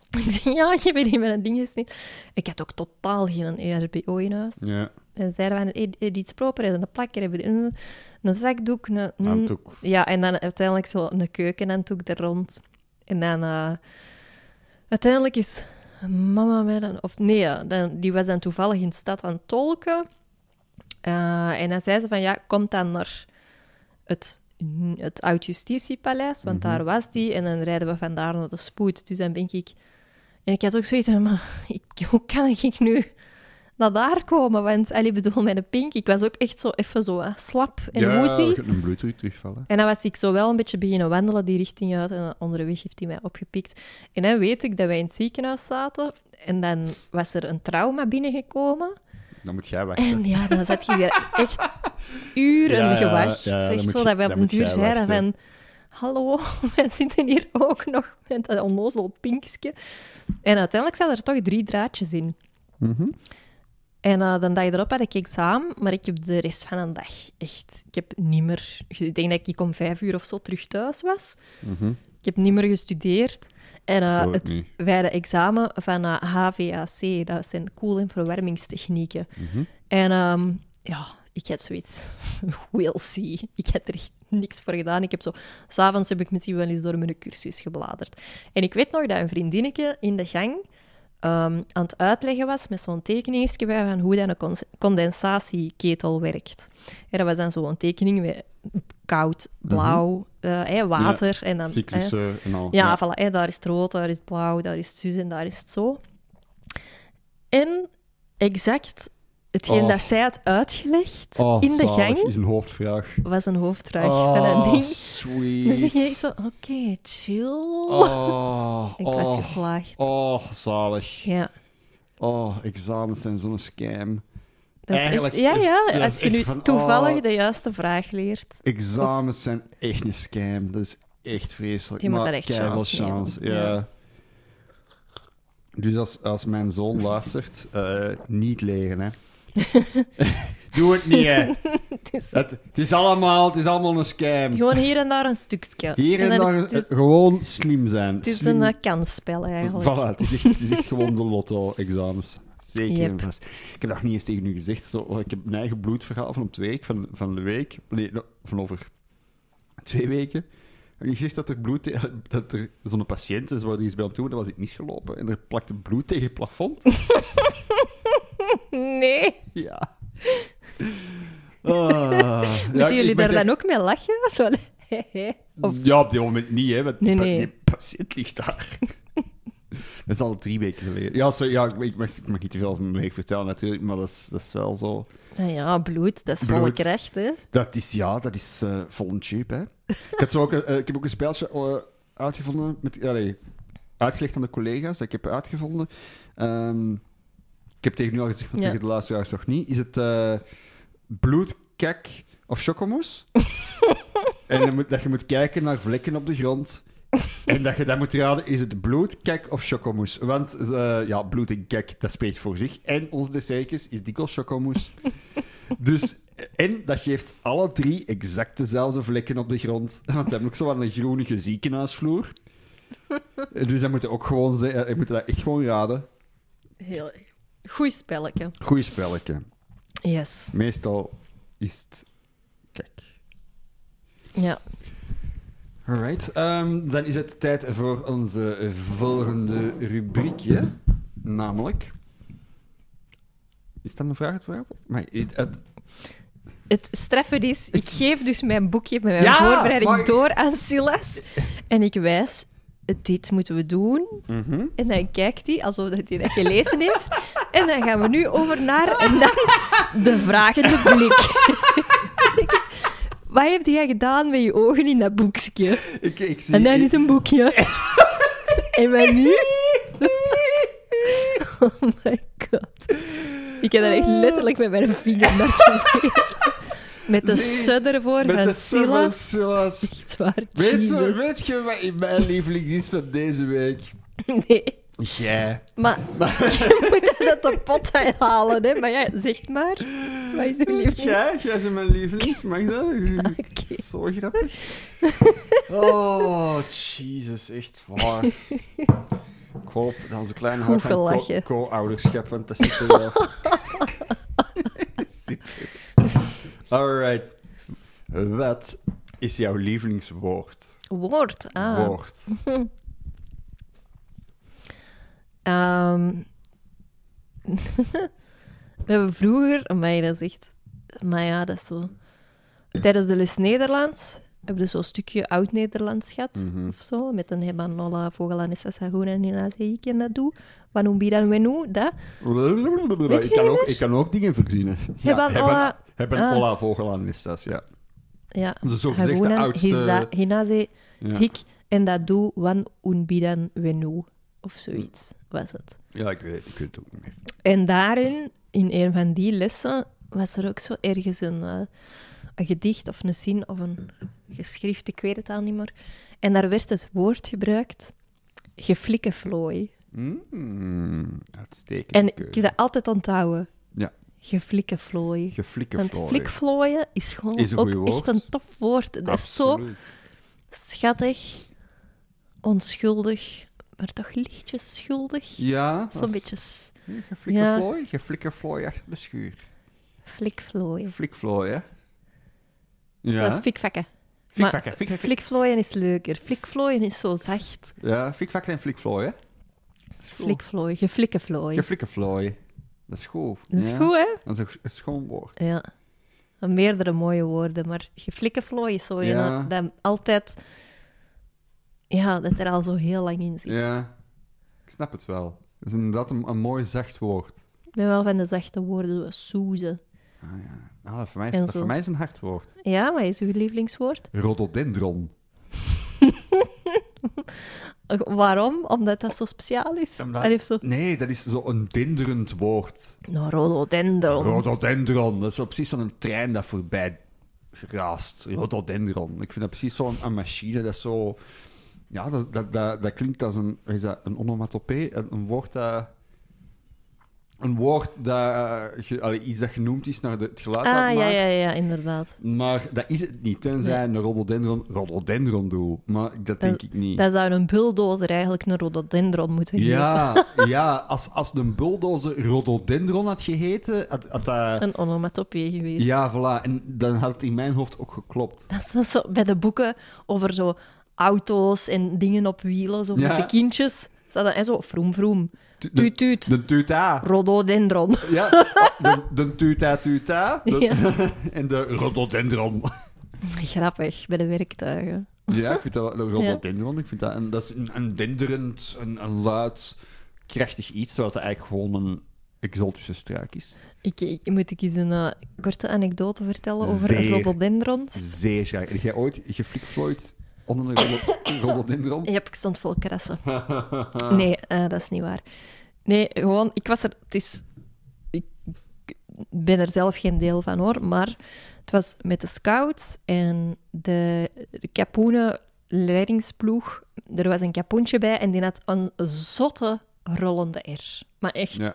Ik zei, ja, je bent hier met een ding gesneden. Ik had ook totaal geen E ERBO in huis. Ja, En zeiden we, "Hey, hey, iets proper, is een plakker, hebben we een, een zakdoek, een... een- handdoek. Ja, en dan uiteindelijk zo een keukenhanddoek er rond. En dan... eh, uiteindelijk is mama mij dan... Of nee, ja, dan, die was dan toevallig in de stad aan het tolken. Eh, en dan zei ze van, ja, kom dan naar het, het oud-justitiepaleis, want daar was die. En dan rijden we vandaar naar de spoed. Dus dan ben ik... En ik had ook zoiets van, maar ik, hoe kan ik nu naar daar komen? Want, allee, bedoel, mijn pink, ik was ook echt zo even zo eh, slap en ja, woozy. je hebt een bloeddruk terugvallen. En dan was ik zo wel een beetje beginnen wandelen die richting uit. En dan onderweg heeft hij mij opgepikt. En dan weet ik dat wij in het ziekenhuis zaten. En dan was er een trauma binnengekomen. Dan moet jij wachten. En ja, dan zat je daar echt uren Ja, ja, gewacht. ja, dan zeg moet zo, je- dat we dan op een moet duur jij zeiden wachten. van... Hallo, wij zitten hier ook nog met dat onnozel pinkje. En uiteindelijk zaten er toch drie draadjes in. En eh dan dag erop had ik examen, maar ik heb de rest van een dag echt... Ik heb niet meer... Ik denk dat ik om vijf uur of zo terug thuis was. Ik heb niet meer gestudeerd. En eh, Mhm. Hoor ik het, niet. wij hadden examen van eh, HVAC, dat zijn koel- en verwarmingstechnieken. Mhm. En ehm, ja, ik had zoiets. We'll see. Ik had er echt niks voor gedaan. Ik heb zo, s'avonds heb ik misschien wel eens door mijn cursus gebladerd. En ik weet nog dat een vriendinnetje in de gang ehm, aan het uitleggen was met zo'n tekeningsje bij van hoe dan een cons- condensatieketel werkt. En dat was dan zo'n tekening met koud, Mhm. blauw, eh, hè, water en dan... hè, Cyclussen eh, en al. ja, voilà, hè, daar is het rood, daar is het blauw, daar is het zus en daar is het zo. En exact hetgeen Oh. dat zij had uitgelegd Oh, in de zalig, gang, is een hoofdvraag. was een hoofdvraag van een Oh, ding. sweet. Dan zeg je echt zo, oké, chill. Oh, ik was oh, geslaagd. oh, zalig. Ja, Oh, examens zijn zo'n scam. dat is Eigenlijk echt, ja, is- ja, dat is als je echt nu van, toevallig oh. de juiste vraag leert. Examens zijn echt een scam. Dat is echt vreselijk. Je moet maar daar echt keiveel chance mee chance, hebben. Ja. Ja. Dus als, als mijn zoon luistert, eh, niet leren, hè. Doe het niet, hè. Het is Het, het is allemaal, het is allemaal een scam. gewoon hier en daar een stukje. Mm. Hier en dan daar is het, eh, is- gewoon slim zijn. het is Slim- een eh, kansspel eigenlijk. Voilà, het is echt, het is echt gewoon de lotto-examens. Zeker Yep. en vast. Ik heb dat niet eens tegen u gezegd. Zo, oh, ik heb mijn eigen bloedverhaal van op twee week, van, van de week, nee, no, van over twee weken. En je zegt dat er bloed, te- dat er zo'n patiënt is waar die is bij hem toe, dat was ik misgelopen en er plakte bloed tegen het plafond. Nee, Ja. Ah, ja, ik- moeten ik jullie ben daar echt- dan ook mee lachen? Zo, of Ja, op dit moment niet, hè. Want die Nee, pa- nee. Die patiënt ligt daar. dat is al drie weken geleden. Ja, sorry, ja ik, ik mag, ik mag niet te veel van mijn week vertellen natuurlijk, maar dat is, dat is wel zo. Nou ja, bloed, dat is volle Bloed. kracht, hè? Dat is, ja, dat is eh vol cheap, hè. ik, had zo ook, een- eh, ik heb ook een speltje eh, uitgevonden, met, allee, uitgelegd aan de collega's, dat ik heb uitgevonden. Ehm, ik heb tegen nu al gezegd, maar Ja. tegen de luisteraars nog niet. Is het eh bloed, kek of chocomousse? en dan moet, dat je moet kijken naar vlekken op de grond. En dat je dan moet raden, is het bloed, kek of chocomousse? Want eh, ja, bloed en kek, dat spreekt voor zich. En ons dessertjes is dikwijls chocomousse. dus, en dat geeft alle drie exact dezelfde vlekken op de grond. Want we hebben ook zo aan een groenige ziekenhuisvloer. Dus dan moet je ook gewoon ze- eh, moet je dat echt gewoon raden. Heel goed spelletje. Goeie spelletje. Yes. Meestal is het... Kijk. Ja. Alright, ehm, dan is het tijd voor onze volgende rubriekje. Namelijk. Is dat een vraag het vooravond? Maar het, het- Het straffen is, ik geef dus mijn boekje met mijn Ja, voorbereiding maar- door aan Silas. En ik wijs dit moeten we doen. Mhm. En dan kijkt hij alsof dat hij dat gelezen heeft. En dan gaan we nu over naar en dan de vragende blik. Wat heb jij gedaan met je ogen in dat boekje? Ik, ik zie... En dan ik- niet een boekje. en wij nu? oh my god. Ik heb daar echt letterlijk met mijn vinger naar geweest. Met de Nee, sudder voor Ah, Met de van Summer Silas. Silas. Echt waar, Weet, je- Jesus. weet je wat in mijn lievelings is van deze week? Nee. Jij. Maar je moet dat de pot halen, hè? Maar ja, zeg maar. Wat is uw liefde? Jij, jij bent mijn lievelings, mag dat? Ah, Oké. Zo grappig. Oh, Jesus, echt waar. Ik hoop dat onze kleine hart van Goed co- gelachen. co-ouderschap, want dat zit er wel. Zit er. Alright. Wat is jouw lievelingswoord? Woord. Ah. Woord. Ehm, we hebben vroeger, maar dat is echt, maar ja, dat is zo. Tijdens de les Nederlands hebben we zo'n stukje oud-Nederlands gehad Mhm. of zo. Met een hebanola, vogelanissa, saguna en inazeik en dat doe. Wanumbiran wenu, dat. Ik kan, ook, ik kan ook dingen verzinnen. Hebben alla- hebben Ah. Olla vogel is dat, ja. Ja. Dat is zo gezegd de Hagunan, oudste- hiza- Hinaze, Ja. hik en dat doe wanumbiran wenu. Of zoiets was het. Ja, ik weet, ik weet het ook niet meer. En daarin, in een van die lessen, was er ook zo ergens een, eh, een gedicht of een zin of een geschrift, ik weet het al niet meer. En daar werd het woord gebruikt, geflikkenvlooi. Mm, uitstekend. En ik heb dat altijd onthouden, eh, Ja, geflikkenvlooi. geflikken Want flikvlooien is gewoon Is een ook goeie woord. echt een tof woord. Dat is zo schattig, onschuldig, maar toch lichtjes schuldig. Ja. Zo'n beetje s- Ja. Geflikkenvlooi? Geflikkenvlooi achter de schuur. flikvlooien. Flikvlooi, hè? Zoals Ja, fikvakken. Fikvakken, Maar fikvakken. Flikvlooien is leuker. Flikvlooien is zo zacht. ja fikvakken en flikvlooi, hè? Dat is goed. Flikvlooien, geflikkenvlooien. Geflikkenvlooi. Dat is goed. Dat is Ja. goed, hè? Dat is een- een schoon woord. Ja. Meerdere mooie woorden, maar geflikkenvlooi is zo Ja. een dat altijd... Ja, dat er al zo heel lang in zit. Ja. Ik snap het wel. Dat is inderdaad een, een mooi zacht woord. Ik ben wel van de zachte woorden, zoals soezen. Ah, ja. Ah, dat voor, mij is, En dat zo. voor mij is een hard woord. Ja, wat is uw lievelingswoord? Rhododendron. Waarom? Omdat dat zo speciaal is? Omdat- Hij heeft zo... Nee, dat is zo'n dinderend woord. Nou, rhododendron. Rhododendron. Dat is zo precies zo'n trein dat voorbij raast. Rhododendron. Ik vind dat precies zo'n een machine. Dat is zo... Ja, dat, dat, dat, dat klinkt als een... Is dat een onomatopee? Een, een woord dat... Een woord dat... eh, ge- allee, iets dat genoemd is naar de, het geluid ah, dat het ja, maakt. ja, ja, inderdaad. Maar dat is het niet. Tenzij een rhododendron rhododendron doet. Maar dat denk ik niet. Dat zou een bulldozer eigenlijk een rhododendron moeten heten. Ja, ja als, als de bulldozer rhododendron had geheten, had, had dat... Een onomatopee geweest. Ja, voilà. En dan had het in mijn hoofd ook geklopt. Dat is dan zo bij de boeken over zo auto's en dingen op wielen, zo Ja. met de kindjes. Staat dat, en zo vroom vroom. Tuut tuut. De tuta. Rhododendron. Ja, oh, de, de tuta tuta. De- Ja. En de rhododendron. Grappig, bij de werktuigen. Ja, ik vind dat wel- de rhododendron. Ik vind dat, een, dat is een, een denderend, een, een luid, krachtig iets, zoals het eigenlijk gewoon een exotische struik is. Ik, ik- moet ik eens een eh, korte anekdote vertellen over Zeer. rhododendrons? Zeer schaar. Heb jij ooit geflikvlooid onder een rhodo- rhododendron? Ja, ik stond vol krassen. Nee, eh, dat is niet waar. Nee, gewoon, ik was er. Het is. Ik ik ben er zelf geen deel van hoor, maar het was met de scouts en de kapoenen leidingsploeg. Er was een kapoentje bij en die had een zotte rollende R. Maar echt Ja.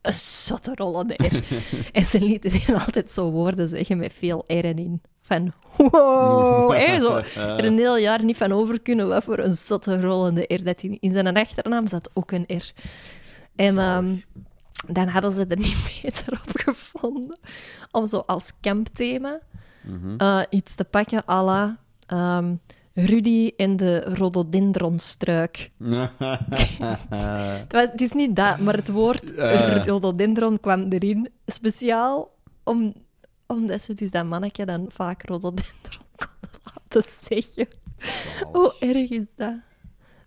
een zotte rollende R. en ze lieten zich altijd zo woorden zeggen met veel R'en in. Van wow, hè, zo. er een heel jaar niet van over kunnen wat voor een zotte rollende R dat in, in zijn achternaam zat ook een R. En ehm, dan hadden ze er niet beter op gevonden om zo als campthema eh, iets te pakken à la ehm, Rudy en de rhododendronstruik. Het, was, het is niet dat, maar het woord Eh. rhododendron kwam erin. Speciaal om, omdat ze dus dat mannetje dan vaak rhododendron konden laten zeggen. Hoe erg is dat?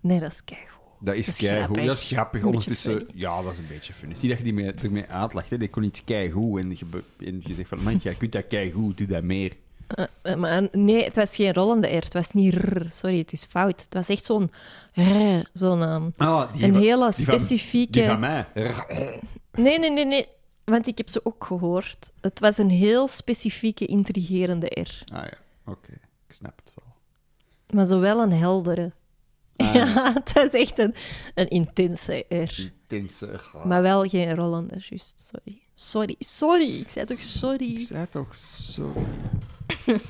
Nee, dat is keigoed. Dat is, Dat is keigoed. grappig. Dat is grappig. Dat is een beetje Ondertussen, ja, dat is een beetje funny. Zie dat je die mee, ermee aanlacht. Hè? Die kon iets keigoed. En je, be- en je zegt van, man, jij kunt dat keigoed, doe dat meer. Eh, eh, maar nee, het was geen rollende R. Het was niet rrr. Sorry, het is fout. Het was echt zo'n... rrr, Zo'n... ehm, Ah, Een van- hele die van- specifieke- Die van mij. Ah, Nee, nee, nee, nee. Want ik heb ze ook gehoord. Het was een heel specifieke, intrigerende R. Ah ja, oké. Ik snap het wel. Maar zowel een heldere. ja, het was echt een, een intense R. Intense. Maar wel geen rollende, juist. Sorry. Sorry, sorry. Ik zei toch Ik sorry? zei toch zo.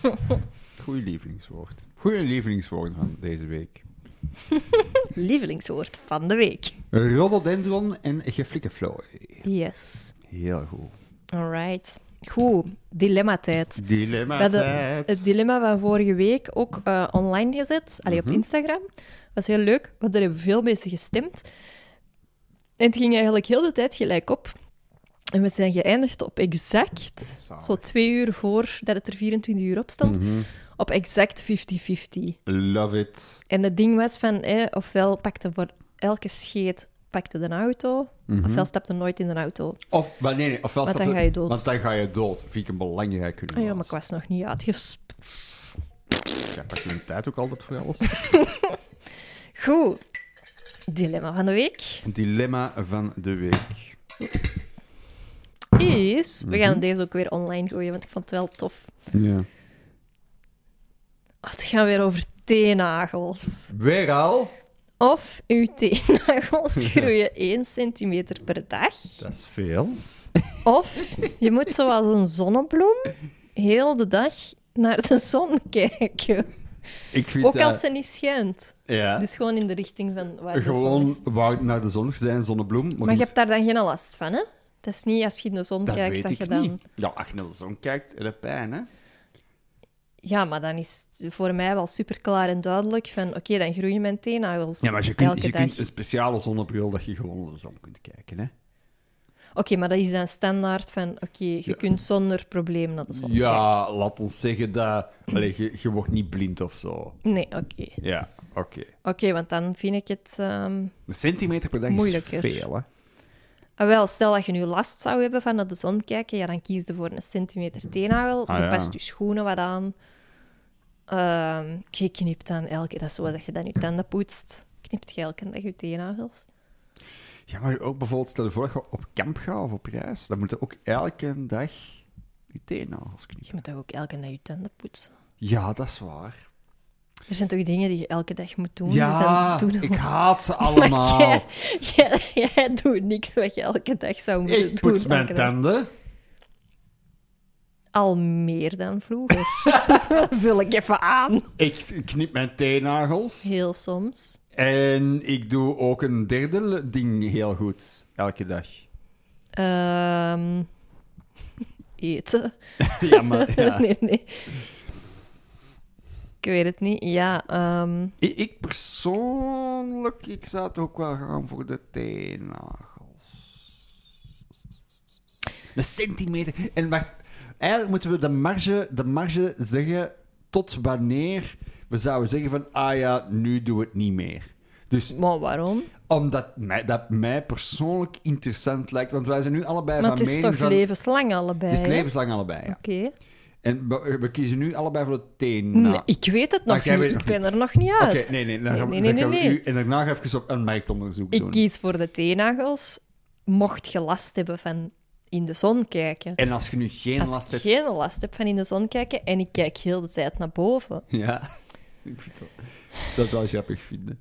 Goeie lievelingswoord. Goeie lievelingswoord van deze week. Lievelingswoord van de week. Rhododendron en geflikkeflooi. Yes. Heel goed. Alright. Goed. Dilemma-tijd. Dilemma We hadden het dilemma van vorige week ook eh, online gezet. Allee, op Instagram. was heel leuk, want er hebben veel mensen gestemd. En het ging eigenlijk heel de tijd gelijk op. En we zijn geëindigd op exact, Zalig. zo twee uur voor dat het er 24 uur op stond, op exact 50-50. Love it. En het ding was van, eh, ofwel pakte voor elke scheet pakte de auto, ofwel stapte nooit in de auto. Ah Of, maar nee, nee, ofwel Want staat dan er- ga je dood. Want dan ga je dood. Vind ik een belangrijk Ah kunnen. ja, maar ik was nog niet uitgesp. Ja, pak je mijn tijd ook altijd voor alles. Goed. Dilemma van de week Dilemma van de week. is... We Mhm. gaan deze ook weer online gooien, want ik vond het wel tof. Ja. Ah, Het gaat weer over teennagels. Weer al? Of uw teennagels groeien 1 centimeter per dag. Dat is veel. Of je moet zoals een zonnebloem heel de dag naar de zon kijken. Ik vind Ook dat- als ze niet schijnt. ja. Dus gewoon in de richting van waar de zon Gewoon is. wou naar de zon zijn, zonnebloem. Maar, Maar je moet- hebt daar dan geen last van, hè? Het is niet als je in de zon dat kijkt weet dat ik je dan... niet. Ja, als je naar de zon kijkt, heb je pijn, hè? Ja, maar dan is het voor mij wel super klaar en duidelijk van... Oké, dan groeien mijn teennagels Ja, maar je elke kunt, je dag. kunt een speciale zonnebril dat je gewoon naar de zon kunt kijken, hè? Oké, maar dat is dan standaard van... Oké, je Ja. kunt zonder probleem naar de zon kijken. Ja, laat ons zeggen dat... Allee, je, je wordt niet blind of zo. Nee, oké. Ja, oké. Oké, want dan vind ik het... ehm, Een centimeter per dag Moeilijker. is veel, hè? ah, wel, stel dat je nu last zou hebben van naar de zon kijken, ja, dan kies je voor een centimeter teennagel. Ah, je ja. past je schoenen wat aan. Ehm, je knipt dan elke... Dat is zoals dat je dan je tanden poetst. Knipt je elke dag je teennagels? Ja, maar ook bijvoorbeeld, stel je voor dat je op kamp gaat of op reis, dan moet je ook elke dag je teennagels knippen. Je moet toch ook elke dag je tanden poetsen? Ja, dat is waar. Er Er zijn toch dingen die je elke dag moet doen? ja, dus dan doe je ik haat ze Maar allemaal. jij, jij, jij doet niks wat je elke dag zou moeten doen. Ik poets mijn elke dag. tanden. Al meer dan vroeger. Vul ik even aan. Ik knip mijn teennagels. Heel soms. En ik doe ook een derde ding heel goed. Elke dag. Ehm, eten. Ja, maar ja. nee, nee. Ik weet het niet. Ja, ehm, Ik, ik persoonlijk, ik zou toch ook wel gaan voor de teennagels. Een centimeter. En wacht, eigenlijk moeten we de marge, de marge zeggen tot wanneer we zouden zeggen van, ah ja, nu doe het niet meer. Dus maar waarom? omdat mij, dat mij persoonlijk interessant lijkt, want wij zijn nu allebei Maar van het is mening toch van... levenslang allebei? Het is hè? levenslang allebei, ja. Oké. En we, we kiezen nu allebei voor de teen. Nee, ik weet het Maar nog Nou. Ah, jij niet. weet Ik nog ben er nog niet Oké, uit. nee, nee. Dan gaan we, nee, nee, dan gaan we nee, nee. u en daarna ga ik even op een marktonderzoek Ik doen. kies voor de teennagels, mocht je last hebben van in de zon kijken. En als je nu geen Als last ik hebt... geen last heb van in de zon kijken en ik kijk heel de tijd naar boven. Ja. ik, vind dat, ik zou het wel grappig vinden.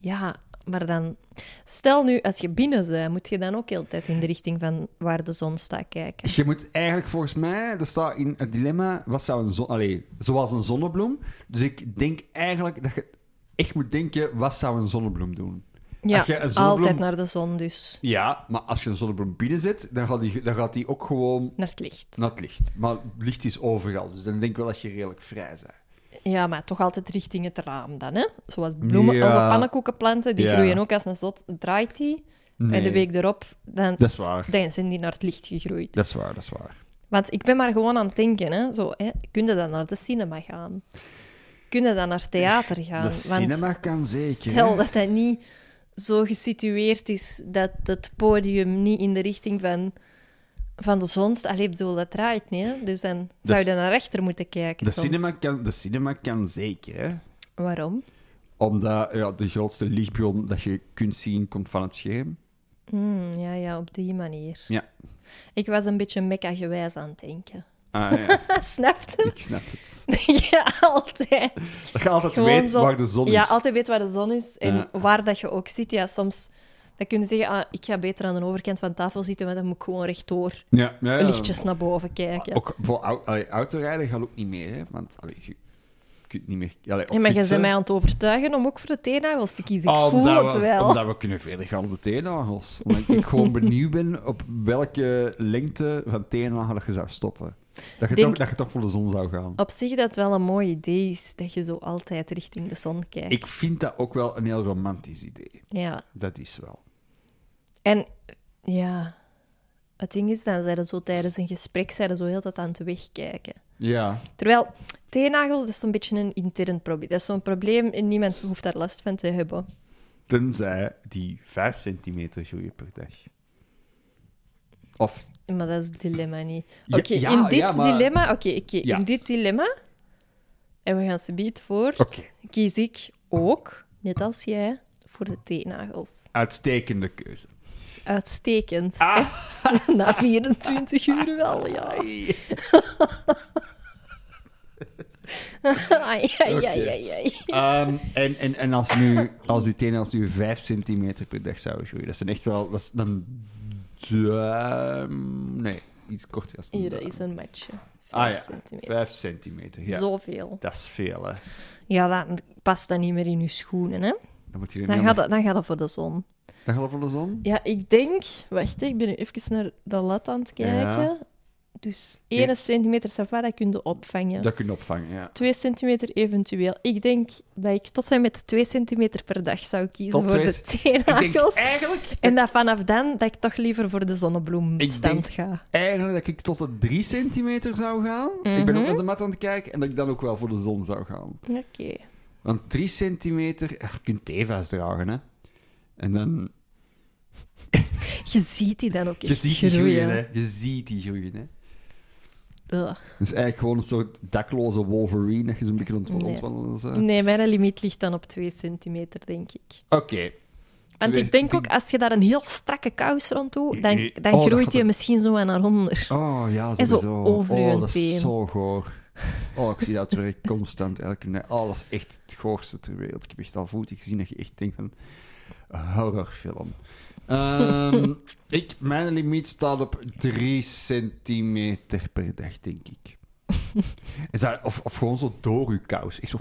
Ja, maar dan... Stel nu, als je binnen bent, moet je dan ook heel de tijd in de richting van waar de zon staat kijken. Je moet eigenlijk volgens mij... Er staat in het dilemma... Wat zou een zon... Allee, zoals een zonnebloem. Dus ik denk eigenlijk dat je echt moet denken... Wat zou een zonnebloem doen? Ja, Als je een zonnebloem- altijd naar de zon dus. Ja, maar als je een zonnebloem binnenzet, dan gaat die, dan gaat die ook gewoon Naar het licht. naar het licht. Maar licht is overal, dus dan denk ik wel dat je redelijk vrij bent. Ja, maar toch altijd richting het raam dan, hè? Zoals bloemen, Ja. onze pannenkoekenplanten, die Ja. groeien ook als een zot. Draait die, en de week erop, dan, Dat is waar. dan zijn die naar het licht gegroeid. Dat is waar, dat is waar. Want ik ben maar gewoon aan het denken, hè. Zo, hè. Kun je dan naar de cinema gaan? kunnen dan naar theater gaan. de want cinema kan zeker. Stel hè. dat dat niet zo gesitueerd is dat het podium niet in de richting van, van de zon staat. Allee, ik bedoel, dat draait niet. Hè? Dus dan zou je c- dan naar rechter moeten kijken. de, soms. cinema kan, de cinema kan zeker, hè. Waarom? Omdat ja, de grootste lichtbron dat je kunt zien komt van het scherm. Hmm, ja, ja, op die manier. Ja. Ik was een beetje mekka-gewijs aan het denken. Ah, ja. Snapte? Ik snap het. ja, altijd. Dat je altijd Gewoon weet zo- waar de zon Ja, is. altijd weet waar de zon is en Ja. waar dat je ook zit. Ja, soms dan kun je zeggen, ah, ik ga beter aan de overkant van tafel zitten, want dan moet ik gewoon rechtdoor Ja, ja, ja. lichtjes naar boven kijken. Ook wel, au- allee, autorijden gaat ook niet meer, hè? Want allee, je kunt niet meer. Allee, op Ja, maar je fietsen. bent mij aan het overtuigen om ook voor de teennagels te kiezen. Ik Ah, voel omdat het we- wel. Omdat we kunnen verder gaan op de teennagels. Omdat ik gewoon benieuwd ben op welke lengte van teennagel dat je zou stoppen. Dat je, Denk- Oh, toch, dat je toch voor de zon zou gaan. Op zich dat het wel een mooi idee is, dat je zo altijd richting de zon kijkt. Ik vind dat ook wel een heel romantisch idee. Ja. Dat is wel. En ja, het ding is, dan zijn ze zo tijdens een gesprek zijn ze zo heel de tijd aan het wegkijken. Ja. Terwijl teennagels, dat is zo'n beetje een intern probleem. Dat is zo'n probleem en niemand hoeft daar last van te hebben. Tenzij die 5 centimeter groeien per dag. Of Maar dat is het dilemma niet. Ja, Oké, ja, in dit ja, maar- dilemma... Oké, oké, Ja. in dit dilemma... En we gaan subiet voort. Oké. Kies ik ook, net als jij, voor de teennagels. uitstekende keuze. Uitstekend. Na 24 uur wel, Oh ja. Ah. Ai. Ai, ai, Oké. ai, ai, ai. Ehm, en en, en als, nu, als uw tenen als nu 5 centimeter per dag zouden groeien, dat zijn echt wel. Dat is dan. duim- nee, iets korter als een Hier duim. is een matje. 5 Ah ja, centimeter. 5 centimeter. Ja. Zoveel. Dat is veel, hè? Ja, dan past dat niet meer in je schoenen, hè. Dan moet je er Dan niet gaat meer- dat, dan gaat dat voor de zon. Dan gaat het voor de zon? Ja, ik denk... Wacht, hè, ik ben nu even naar de lat aan het kijken. Ja. Dus 1 Ja. centimeter sava, dat kun je opvangen. Dat kun je opvangen, ja. 2 centimeter eventueel. Ik denk dat ik tot en met 2 centimeter per dag zou kiezen Tot voor twee de c- Ik denk teennagels. eigenlijk, En dat vanaf dan dat ik toch liever voor de zonnebloemstand Ik ga. eigenlijk dat ik tot de 3 centimeter zou gaan. Ik Mhm. ben ook naar de mat aan het kijken en dat ik dan ook wel voor de zon zou gaan. Oké. Want 3 centimeter, eh, je kunt teva's dragen, hè? En dan. Je ziet die dan ook echt Je ziet die groeien, hè? Je ziet die groeien, hè? Ugh. Het is eigenlijk gewoon een soort dakloze Wolverine dat je zo'n beetje rond Nee. rondwandelen is, hè. Nee, mijn limiet ligt dan op 2 centimeter, denk ik. Oké. Want Twee- ik denk ook, als je daar een heel strakke kous rond doet, dan, dan Oh, dat groeit gaat je ook- misschien zo aan naar onder. Oh ja, En zo sowieso. over oh, uw dat teen. is zo goor. Oh, ik zie dat werk constant elke dag. Oh, dat is echt het goorste ter wereld. Ik heb echt al voeten gezien dat je echt denkt van... Horrorfilm. Ehm, ik, mijn limiet staat op 3 centimeter per dag, denk ik. Is dat- of, of gewoon zo door uw kous. Ik zo...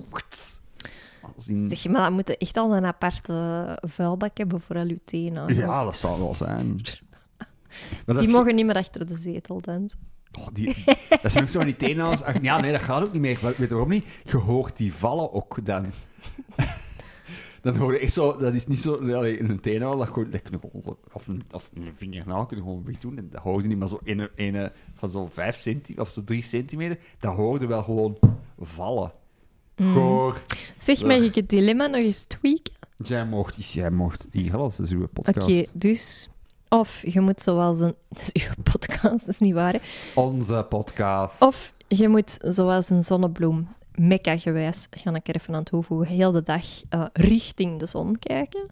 Als in- Zeg, maar dan moet je echt al een aparte vuilbak hebben voor al je teennagels. Ja, dat zal wel zijn. Maar dat Die is- mogen niet meer achter de zetel dansen. Oh, die, dat zijn ook zo van die teennagels. Ach, Ja, nee, dat gaat ook niet meer. Wel, Weet je waarom niet? Je hoort die vallen ook dan. Dan hoor je echt zo... Dat is niet zo... allee, in een teennagel, dat, gewoon- dat kun je gewoon zo- Of een, of een vingernagel kun je gewoon weg doen. En dat hoorde niet, maar zo ene, ene van zo'n 5 centimeter... Of zo 3 centimeter, dat hoorde wel gewoon vallen. Mm. Goor. Zeg, Ugh. mag ik het dilemma nog eens tweaken? Jij mocht... Jij mocht niet alles. Dat is uw Oké, podcast. dus... Of je moet zoals een... Het is uw podcast, dat is niet waar, hè? Onze podcast. Of je moet, zoals een zonnebloem, mekka-gewijs, ga ik er even aan toevoegen, heel de dag eh, richting de zon kijken.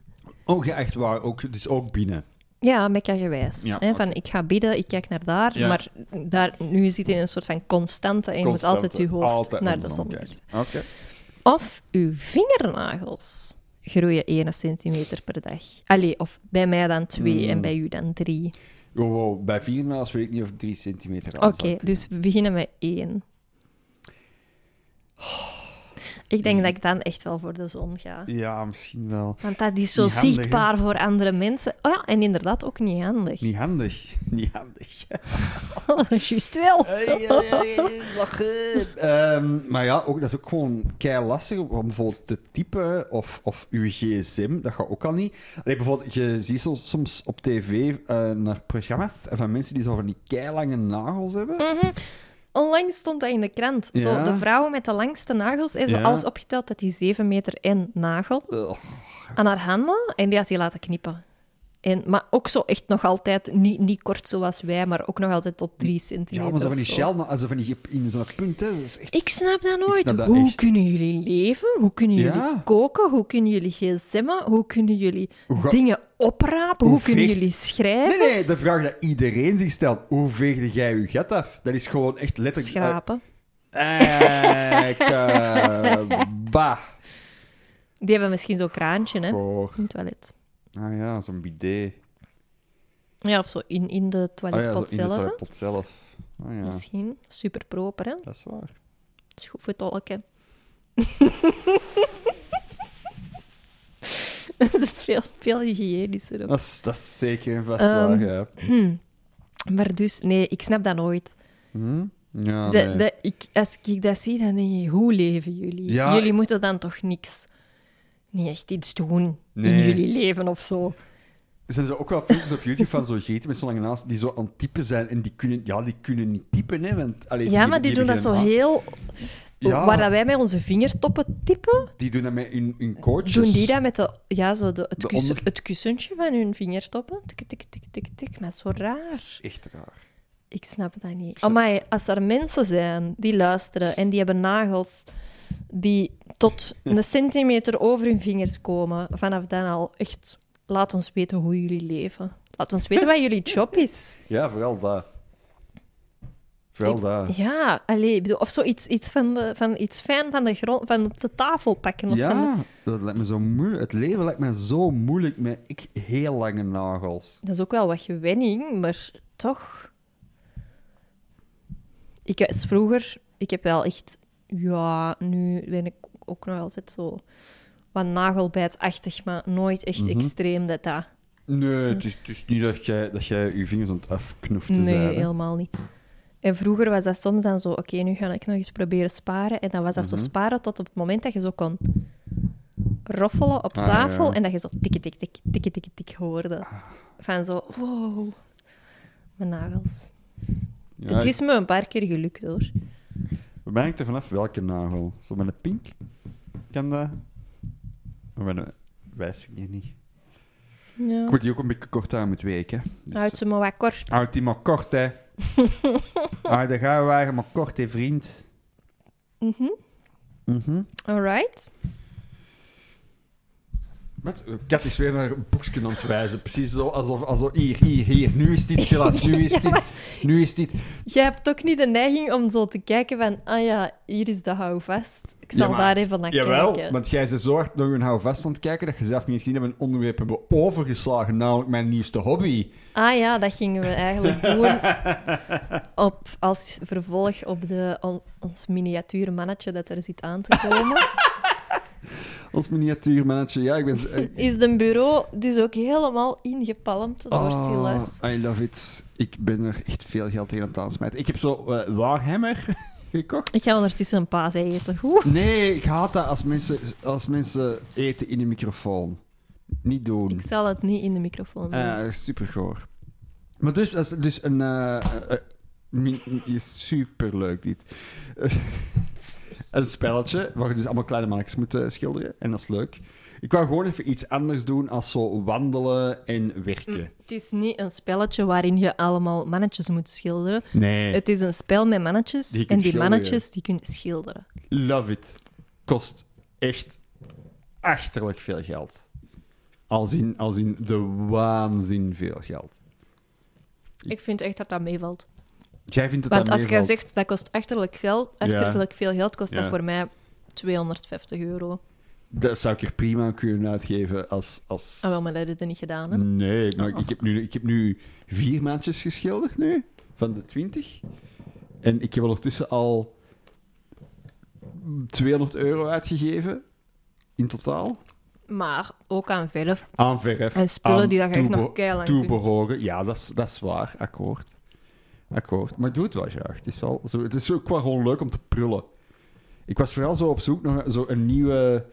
Oh, ja, echt waar. Ook, dus ook binnen. Ja, mekka-gewijs. Ja, hè, Van, ik ga bidden, ik kijk naar daar, Ja. maar daar, nu zit je in een soort van constante en je moet Constante. altijd je hoofd Altijd naar de zon kijken. richten. Oké. Of uw vingernagels groeien 1 centimeter per dag. Allee, of bij mij dan 2 Hmm. en bij u dan 3. Wow, wow, bij vier naast weet ik niet of ik drie centimeter Oké, aan zou kunnen. dus we beginnen met 1. Ik denk dat ik dan echt wel voor de zon ga. Hmm. Ja, misschien wel. Want dat is zo Niet handig, hè? zichtbaar voor andere mensen. Oh ja, en inderdaad ook niet handig. Oh, Niet handig. Niet handig. Juist wel. Lachen. Ehm, maar ja, ook, dat is ook gewoon kei lastig om bijvoorbeeld te typen of, of uw gsm. Dat gaat ook al niet. Allee, bijvoorbeeld, je ziet zo- soms op Hm. tv eh, naar programma's van mensen die zo van die keilange nagels hebben. Onlangs stond dat in de krant. Ja. Zo, de vrouwen met de langste nagels. En zo Ja. alles opgeteld, dat die 7 meter en nagel aan haar handen. En die had die laten knippen. En, maar ook zo echt nog altijd, niet, niet kort zoals wij, maar ook nog altijd tot 3 centimeter. Ja, maar zo van die of zo. shell, maar zo van die in zo'n punt, hè, dat is echt... Ik snap dat nooit. snap dat hoe echt. kunnen jullie leven? Hoe kunnen jullie Ja. koken? Hoe kunnen jullie gsm'en? Hoe kunnen jullie ga- dingen oprapen? Hoe, Hoe kunnen veeg- jullie schrijven? Nee, nee, de vraag dat iedereen zich stelt. Hoe veegde jij je gat af? Dat is gewoon echt letterlijk... Schrapen. Eh, ik, eh, bah. Die hebben misschien zo'n kraantje, hè? Goor. In het toilet. Ah ja, zo'n bidet. Ja, of zo in, in de Ah ja, zo toiletpot in de zelf. hè. toiletpot zelf. Ah ja, Misschien. Super proper, hè? Dat dat is waar. is goed voor tolken. Dat is veel, veel hygiënischer. ook. Dat is, dat is zeker een vast Ehm, waar, ja. Maar dus, nee, ik snap dat nooit. ja De- Ah, nee. de- ik, als ik dat zie, dan denk je, hoe leven jullie? Ja. Jullie moeten dan toch niks, niet echt iets doen in Nee. jullie leven of zo. Er zijn zo ook wel filmpjes op YouTube van zo'n geiten met zo'n lange naast die zo aan het typen zijn en die kunnen, ja, die kunnen niet typen, hè. Want, allee, Ja, maar die doen dat zo beginnen- heel... Ja. Waar dat wij met onze vingertoppen tippen, Die doen dat met hun, hun coaches. doen die dat met de, ja, zo de, het, De kus- onder- het kussentje van hun vingertoppen. Tik, tik, tik, tik, tik. Maar zo raar. Dat is echt raar. Ik snap dat niet. Amai, als er mensen zijn die luisteren en die hebben nagels die tot een centimeter over hun vingers komen, vanaf dan al echt, laat ons weten hoe jullie leven. Laat ons weten wat jullie job is. Ja, vooral dat. Vooral dat. Ja, allee, ik bedoel, of zo iets, iets, van de, van iets fijn van de, grond, van op de tafel pakken. Of van de- Ja, dat lijkt me zo moeilijk. Het leven lijkt me zo moeilijk met ik heel lange nagels. Dat is ook wel wat gewenning, maar toch. Ik was vroeger, ik heb wel echt, ja, nu ben ik ook nog altijd zo wat nagelbijtachtig, maar nooit echt Mhm. extreem dat dat. Nee, het is, het is niet dat jij, dat jij je vingers aan het afknuften Hm. Nee, zijn. hè. helemaal niet. En vroeger was dat soms dan zo, oké, nu ga ik nog eens proberen sparen. En dan was dat Mhm. zo sparen tot op het moment dat je zo kon roffelen op Ah, tafel ja. Ah. en dat je zo tikke tik tik tikke tik tik hoorde. Van zo, wow, mijn nagels. Ja, het is me een paar keer gelukt hoor. Bij mij hangt er vanaf welke nagel. Zo met een pink kan dat. Oh, Maar met een wijsvinger niet. Ja. Ik moet die ook een beetje kort aan met weken. Houd Dus, ze maar wat kort. houd die maar kort, hè. Houd de gouden wagen maar kort, hè, vriend. Mhm. Mhm. Alright. Wat? Kat is weer naar een boekje aan het wijzen. Precies zo, alsof, alsof hier, hier, hier. Nu is dit, Silas. Nu is Ja, dit. Nu is dit. Jij hebt ook niet de neiging om zo te kijken van, ah ja, hier is de houvast. Ik Ja, zal maar- daar even naar Jawel, kijken. want jij ze zo hard door hun houvast aan het kijken dat je zelf niet gezien hebt een onderwerp hebben overgeslagen, namelijk mijn nieuwste hobby. Ah ja, dat gingen we eigenlijk doen op, als vervolg op de, on- ons miniatuur mannetje dat er zit aan te komen. Ons miniatuurmannetje, ja, ik ben... z- eh, Is de bureau dus ook helemaal ingepalmd door ah, Silas. I love it. Ik ben er echt veel geld tegen aan het aansmijten. Ik heb zo eh, Warhammer gekocht. Ik ga ondertussen een paas eten. Oeh. Nee, ik haat dat als mensen, als mensen eten in de microfoon. Niet doen. Ik zal het niet in de microfoon doen. Eh, supergoor. Maar dus, als- dus een... eh, eh, eh, mi- mi- is superleuk dit. een spelletje waar je dus allemaal kleine mannetjes moet eh, schilderen. En dat is leuk. Ik wou gewoon even iets anders doen als zo wandelen en werken. Het is niet een spelletje waarin je allemaal mannetjes moet schilderen. Nee. Mm. Het is een spel met mannetjes Die je en kunt die schilderen. mannetjes die kunnen schilderen. Love it. Kost echt achterlijk veel geld. Als in, als in de waanzin veel geld. Ik vind echt dat dat meevalt. Jij vindt het Want dat als jij meevalt. zegt dat kost achterlijk geld, achterlijk veel geld, kost dat Ja. voor mij 250 euro. Dat zou ik er prima aan kunnen uitgeven als... als... Ah, wel, maar dat heb je niet gedaan, hè? Nee, maar ik, heb nu, ik heb nu vier maandjes geschilderd nu, van de twintig. En ik heb ondertussen al 200 euro uitgegeven, in totaal. Maar ook aan verf. Aan verf. En spullen aan die dat je echt nog toebe- keilang kunt. Toebehoren, ja, dat is, dat is waar, akkoord. Akkoord, maar ik doe het wel graag. Het is, wel zo, het is ook wel gewoon leuk om te prullen. Ik was vooral zo op zoek naar zo een nieuwe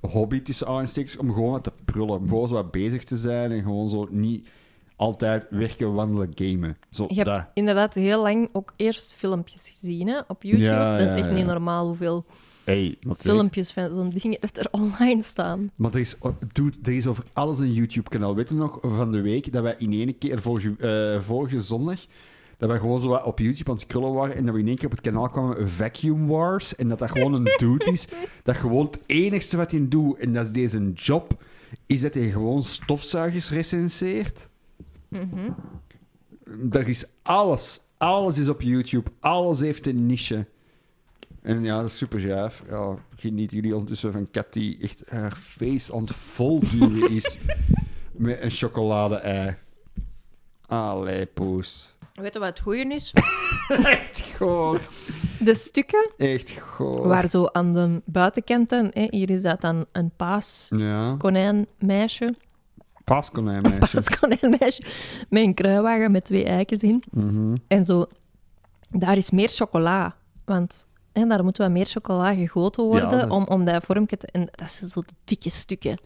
hobby tussen aanstekens om gewoon wat te prullen. Om gewoon zo wat bezig te zijn en gewoon zo niet... altijd werken, wandelen, gamen. Zo, Je hebt daar. inderdaad heel lang ook eerst filmpjes gezien hè, op YouTube. Ja, dat is ja, echt ja. niet normaal hoeveel Hey, maar het werkt. filmpjes van zo'n dingen dat er online staan. Maar er is, oh, dude, er is over alles een YouTube-kanaal. Weet je nog van de week dat wij in één keer vorige, eh, vorige zondag. dat wij gewoon zo wat op YouTube aan het scrollen waren. en dat we in één keer op het kanaal kwamen Vacuum Wars. en dat dat gewoon een dude is. dat gewoon het enigste wat hij doet. en dat is deze job. is dat hij gewoon stofzuigers recenseert. Er is alles. Alles is op YouTube. Alles heeft een niche. En ja, dat is super gaaf. Ja, genieten jullie ondertussen van Kat die echt haar face aan het volduwen is met een chocolade-ei. Allee, poes. Weet je wat het goede is? Echt goor. De stukken Echt goor. waar zo aan de buitenkanten, hè, hier is dat dan een paas Ja. konijnmeisje, Paaskonijnmeisje. paas konijnmeisje, met een kruiwagen met twee eikens in. Mhm. En zo, daar is meer chocola, want hè, daar moet wat meer chocola gegoten worden dat is- om, om dat vormje te... En dat zijn zo de dikke stukken.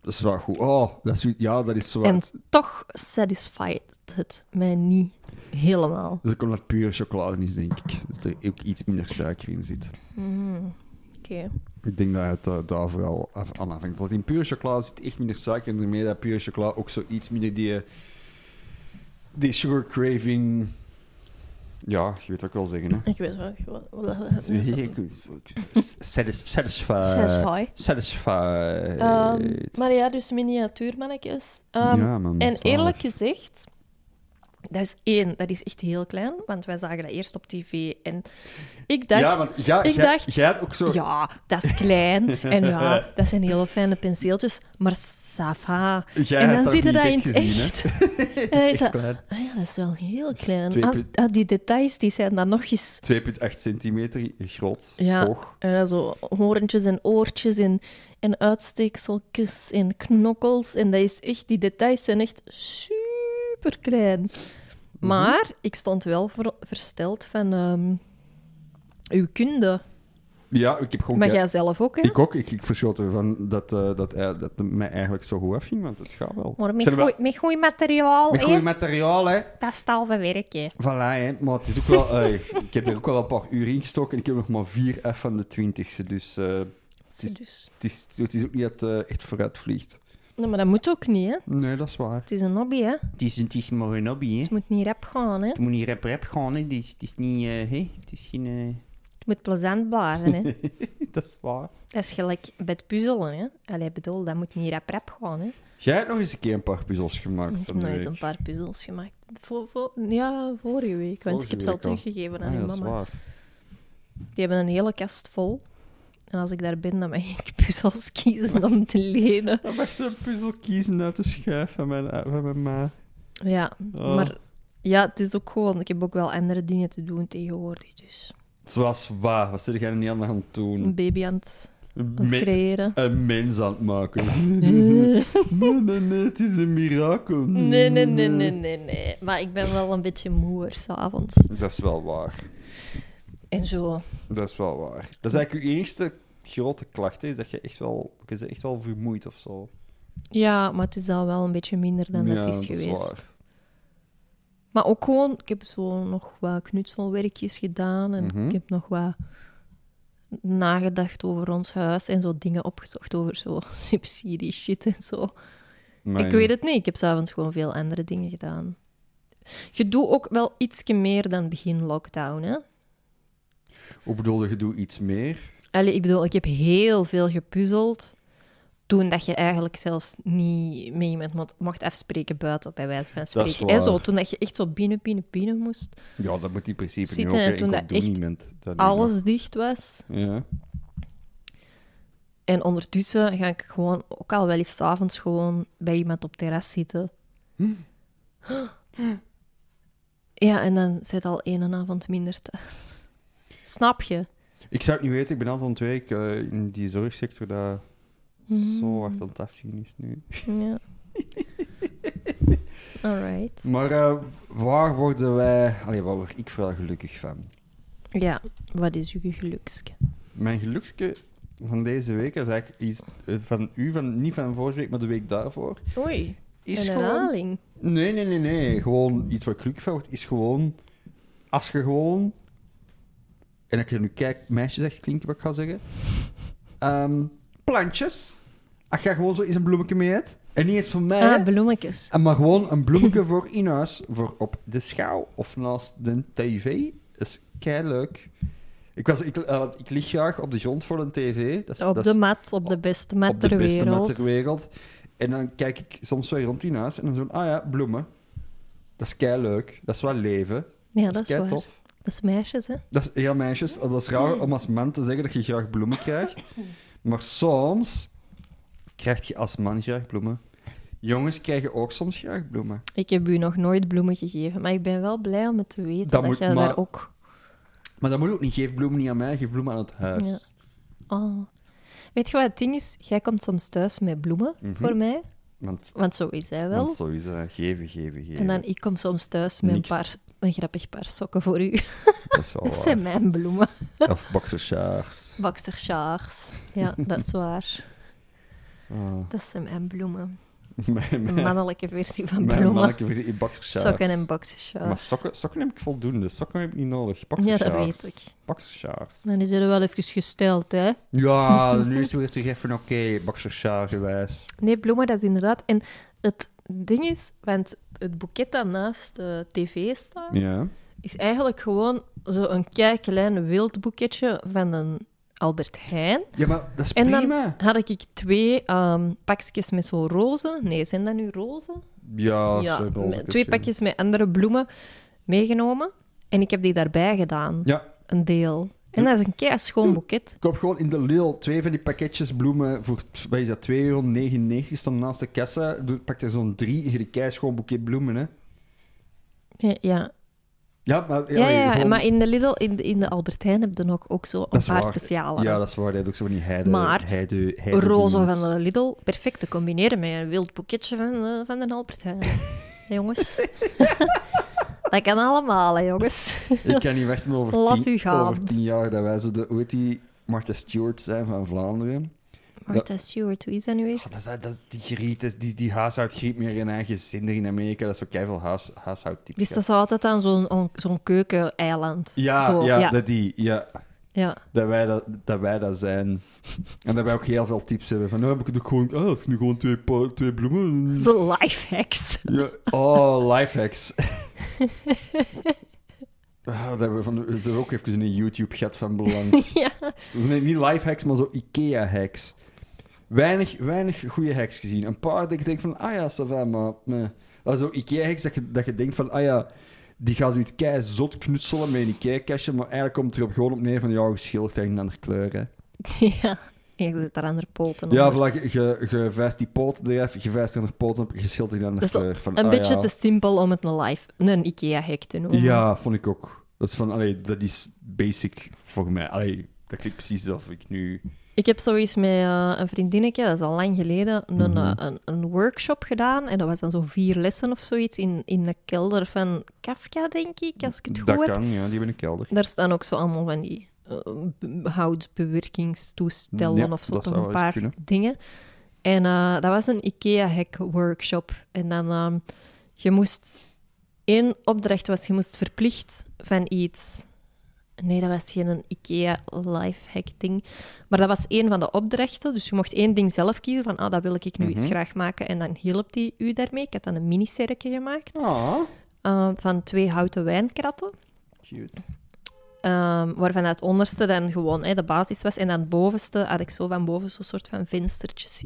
Dat is wel goed. Oh, dat is, ja, dat is zo. En wat- toch satisfied het mij niet helemaal. Dat komt dat pure chocolade is, denk ik. Dat er ook iets minder suiker in zit. Mhm. Oké. Ik denk dat het eh, daar vooral af- aan afhangt. Want in pure chocola zit echt minder suiker. En daarmee dat pure chocola ook zo iets minder die, eh, die sugar craving... Ja, je weet wat ik wil zeggen, hè. Ik weet wel. ik weet wel- Satisfied. Satisfy. Satisfied. Ehm, maar ja, dus miniatuurmannetjes. Ehm, eh, Ja, man, en Mm, zalig. eerlijk gezegd, dat is één, dat is echt heel klein, want wij zagen dat eerst op tv. En ik dacht, ja, want ja, ik jij, dacht jij had ook zo... ja, dat is klein. en ja, dat zijn hele fijne penseeltjes, maar safa. Jij en hebt dan dat zie je niet dat in echt het gezien, hè? echt. En dan is dat- klein. Ah ja, dat is wel heel klein. twee Ah, punt- ah, die details die zijn dan nog eens 2,8 centimeter groot, ja, hoog. en dan Eh, zo hoorntjes en oortjes en, en uitsteekseltjes en knokkels. En dat is echt, die details zijn echt super klein. Mhm. Maar ik stond wel ver- versteld van ehm, uw kunde. Oh, Ja, ik heb gewoon... Maar kei- jij zelf ook, hè? Ik ook. Ik, ik verschoot ervan dat, eh, dat, eh, dat het mij eigenlijk zo goed afging, want het gaat wel. maar met Zijn we- goeie- Oh, eh, met goed materiaal, Met hè? goed materiaal, hè. Dat is het halve werk, hè? Voilà, hè. Maar het is ook wel... eh, ik heb er ook wel een paar uur in gestoken en ik heb nog maar vier F van de twintigste, dus... eh, het, is, Dus. het, is, het is ook niet dat het echt vooruit vliegt. Nee, maar dat moet ook niet, hè? Nee, dat is waar. Het is een hobby, hè? Het is, het is maar een hobby, hè. Het moet niet rap gaan, hè? Het moet niet rap rap gaan, hè. Het is, het is niet, eh, hè. Het is geen... eh, Het moet plezant blijven, hè? Dat is waar. dat is gelijk bij het puzzelen, hè? Allee, bedoel, dat moet niet rap rap gaan, hè? Jij hebt nog eens een keer een paar puzzels gemaakt Ik heb van de nog eens een week. paar puzzels gemaakt. Vo- vo- ja, vorige week. Want ik Vorige heb ze al week al. teruggegeven aan Ah, ja, uw dat is mama. waar. Die hebben een hele kast vol. En als ik daar ben, dan mag ik puzzels kiezen om te lenen. Dan mag ze een puzzel kiezen uit de schijf van mijn, van eh, mijn ma. Ja, Oh. maar ja, het is ook gewoon... Ik heb ook wel andere dingen te doen tegenwoordig. Dus Zoals waar? Wat zit jij niet aan het een doen? baby aan het, aan het Hm. Me- creëren. een mens aan het maken. nee, nee, nee, het is een mirakel. Nee, nee, nee, nee, nee, nee. Maar ik ben wel een beetje moe s'avonds. Dat is wel waar. En zo. Dat is wel waar. Dat is eigenlijk je enigste grote klacht, hè, is dat je echt wel, je bent echt wel vermoeid of zo. Ja, maar het is al wel een beetje minder dan ja, het is dat geweest. waar. Maar ook gewoon, ik heb zo nog wat knutselwerkjes gedaan en Mhm. ik heb nog wat nagedacht over ons huis en zo dingen opgezocht over zo subsidie shit en zo. Maar Ik weet het niet, ik heb s'avonds gewoon veel andere dingen gedaan. Je doet ook wel ietsje meer dan begin lockdown, hè? Hoe bedoel je, je doet iets meer? Allee, ik bedoel, ik heb heel veel gepuzzeld toen dat je eigenlijk zelfs niet met iemand mo- mocht afspreken buiten, bij wijze van is spreken. En zo, waar. toen dat je echt zo binnen, binnen, binnen moest. Ja, dat moet in principe Zitten niet ook. hè. en eh, toen Ik dat ook doe echt niemand. Dat niet, Alles dicht was. hè. Ja. En ondertussen ga ik gewoon ook al wel eens 's avonds gewoon bij iemand op terras zitten. Hm. Ja, en dan zit al één avond minder thuis. Snap je? Ik zou het niet weten, ik ben altijd aan het werk eh, in die zorgsector dat Mm. zo hard aan het afzien is nu. Ja. Alright. Maar eh, waar worden wij... Allee, waar word ik vooral gelukkig van? Ja, wat is uw gelukske? Mijn gelukske van deze week is eigenlijk iets eh, van u, van, niet van vorige week, maar de week daarvoor. Oei. Een is gewoon... herhaling. Nee, nee, nee, nee. Gewoon iets wat ik wordt is gewoon... Als je gewoon... En als je nu kijkt, meisjes echt klinken wat ik ga zeggen. Ehm, plantjes. Als je gewoon zo eens een bloemetje mee hebt. En niet eens voor mij. hè. Ah, bloemetjes. En maar gewoon een bloemetje voor in huis, voor op de schouw of naast de tv. is kei leuk. Ik, was, ik, eh, want ik lig graag op de grond voor een tv. Dat is, Op dat de is mat, op de beste mat op de ter beste mat wereld. ter wereld. En dan kijk ik soms weer rond in huis en dan zo, ah ja, bloemen. Dat is kei leuk. Dat is wel leven. Ja, dat is kei waar. tof. Dat is meisjes, hè? Dat is, ja, meisjes, dat is raar om als man te zeggen dat je graag bloemen krijgt. Maar soms krijg je als man graag bloemen. Jongens krijgen ook soms graag bloemen. Ik heb u nog nooit bloemen gegeven, maar ik ben wel blij om het te weten Dat dat, moet- jij maar- daar ook... Maar dat moet ook niet. Geef bloemen niet aan mij, geef bloemen aan het huis. Ja. Oh. Weet je wat het ding is? Jij komt soms thuis met bloemen voor mij, Want, want zo is hij wel. Mhm. want zo is dat. Geven, geven, geven. en dan ik kom soms thuis met een, Niks. Oh, paar, een grappig paar sokken voor u. Dat is wel Dat waar. zijn mijn bloemen. Of boxersjaars. Bakstersjaars. Ja, dat is waar. Dat zijn mijn bloemen. Ah. Mijn, De mijn, mannelijke versie van mijn bloemen. mannetje verdient in boxersjaars. Sokken en Maar boxersjaars. sokken, sokken heb ik voldoende. Sokken heb ik niet nodig. Ja, Boxersjaars. dat weet ik. Boxersjaars. Dan is er wel even gesteld, hè? Ja, nu is het weer terug even oké, okay, boxersjaargewijs. Nee, bloemen, dat is inderdaad. En het ding is, want het boeket dat naast de tv staat, Ja. is eigenlijk gewoon zo'n keiklein wild boeketje van een Albert Heijn. Ja, maar dat is En dan prima. had ik twee ehm, pakjes met zo'n rozen. Nee, zijn dat nu rozen? Ja, ja, Ah, ze met- wel twee pakjes met andere bloemen meegenomen. En ik heb die daarbij gedaan, Ja, een deel. En dat is een kei schoon boeket. koop gewoon in de Lidl twee van die pakketjes bloemen voor, t- wat is dat, 2,99 euro, staan naast de kassa. Doe, pak er zo'n drie, je krijgt een schoon boeket bloemen, hè. Ja, ja. Ja, maar... ja, ja, gewoon- maar in de Lidl, in de, in de Albert Heijn heb je nog ook zo een dat is paar waar. speciale. Ja, dat is waar. Dat is ook zo van die heide... Maar heide, heide roze dingen. van de Lidl perfect te combineren met een wild boeketje van, eh, van de Albert Heijn. Hè, jongens. dat kan allemaal, hè, jongens. Ik kan niet wachten over, Laat tien, u gaan. over tien jaar dat wij zo de, hoe heet die, Martha Stewart zijn van Vlaanderen. Martha Stewart, hoe is dat nu echt? God, Oh, dat is, dat is- die griet, dat is- die, die huishoud griet meer in eigen zin er in Amerika. Dat is ook keiveel huis, huishoudtypes. Dus dat is altijd aan zo'n on- zo'n keukeneiland. Ja, Zo, ja, ja, dat die. Ja, ja. dat wij dat, dat wij dat zijn. En dat wij ook heel veel tips hebben. Van, nou heb ik het ook gewoon... Ah, het is nu gewoon twee, pa- twee bloemen. De lifehacks. Ja. Oh, lifehacks. Ah, dat hebben we van, dat hebben we ook even in een YouTube-gat van beland. ja. Dat zijn niet lifehacks, maar zo IKEA-hacks. Weinig, weinig goede hacks gezien. Een paar dat ik denk van, ah ja, ça va, maar... meh. Dat zo IKEA-hacks dat je, dat je denkt van, ah ja, die gaan zoiets kei zot knutselen met een IKEA-kastje, maar eigenlijk komt het erop gewoon op neer van, ja, geschilderd tegen een andere kleur, hè. ja. Je zit daar andere poten Ja, onder. voilà, je, je, je vijst die poot eraf, je vijst er een poot op, je schildert een andere Dat is kleur. Van, Een ah beetje ja. te simpel om het een life, een IKEA-hack te noemen. Ja, vond ik ook. Dat is van, allee, dat is basic volgens mij. Allee, dat klinkt precies alsof ik nu... Ik heb zoiets met eh, een vriendinnetje, dat is al lang geleden, een, Mhm. eh, een, een workshop gedaan. En dat was dan zo vier lessen of zoiets in, in de kelder van Kafka, denk ik, als ik het goed Dat heb. kan, ja, die hebben een kelder. Daar staan ook zo allemaal van die eh, b- houtbewerkingstoestellen Ja, of zo, dat toch zou een eens paar kunnen. dingen. En eh, dat was een IKEA-hack workshop. En dan, ehm, je moest, één opdracht was, je moest verplicht van iets. Nee, dat was geen IKEA lifehack ding. Maar dat was één van de opdrachten. Dus je mocht één ding zelf kiezen van, ah, dat wil ik nu eens Mhm. graag maken. En dan hielp die u daarmee. Ik had dan een miniserkje gemaakt Ah, eh, van twee houten wijnkratten. cute. Ehm, waarvan het onderste dan gewoon hè, de basis was. En dan het bovenste had ik zo van boven zo'n soort van venstertjes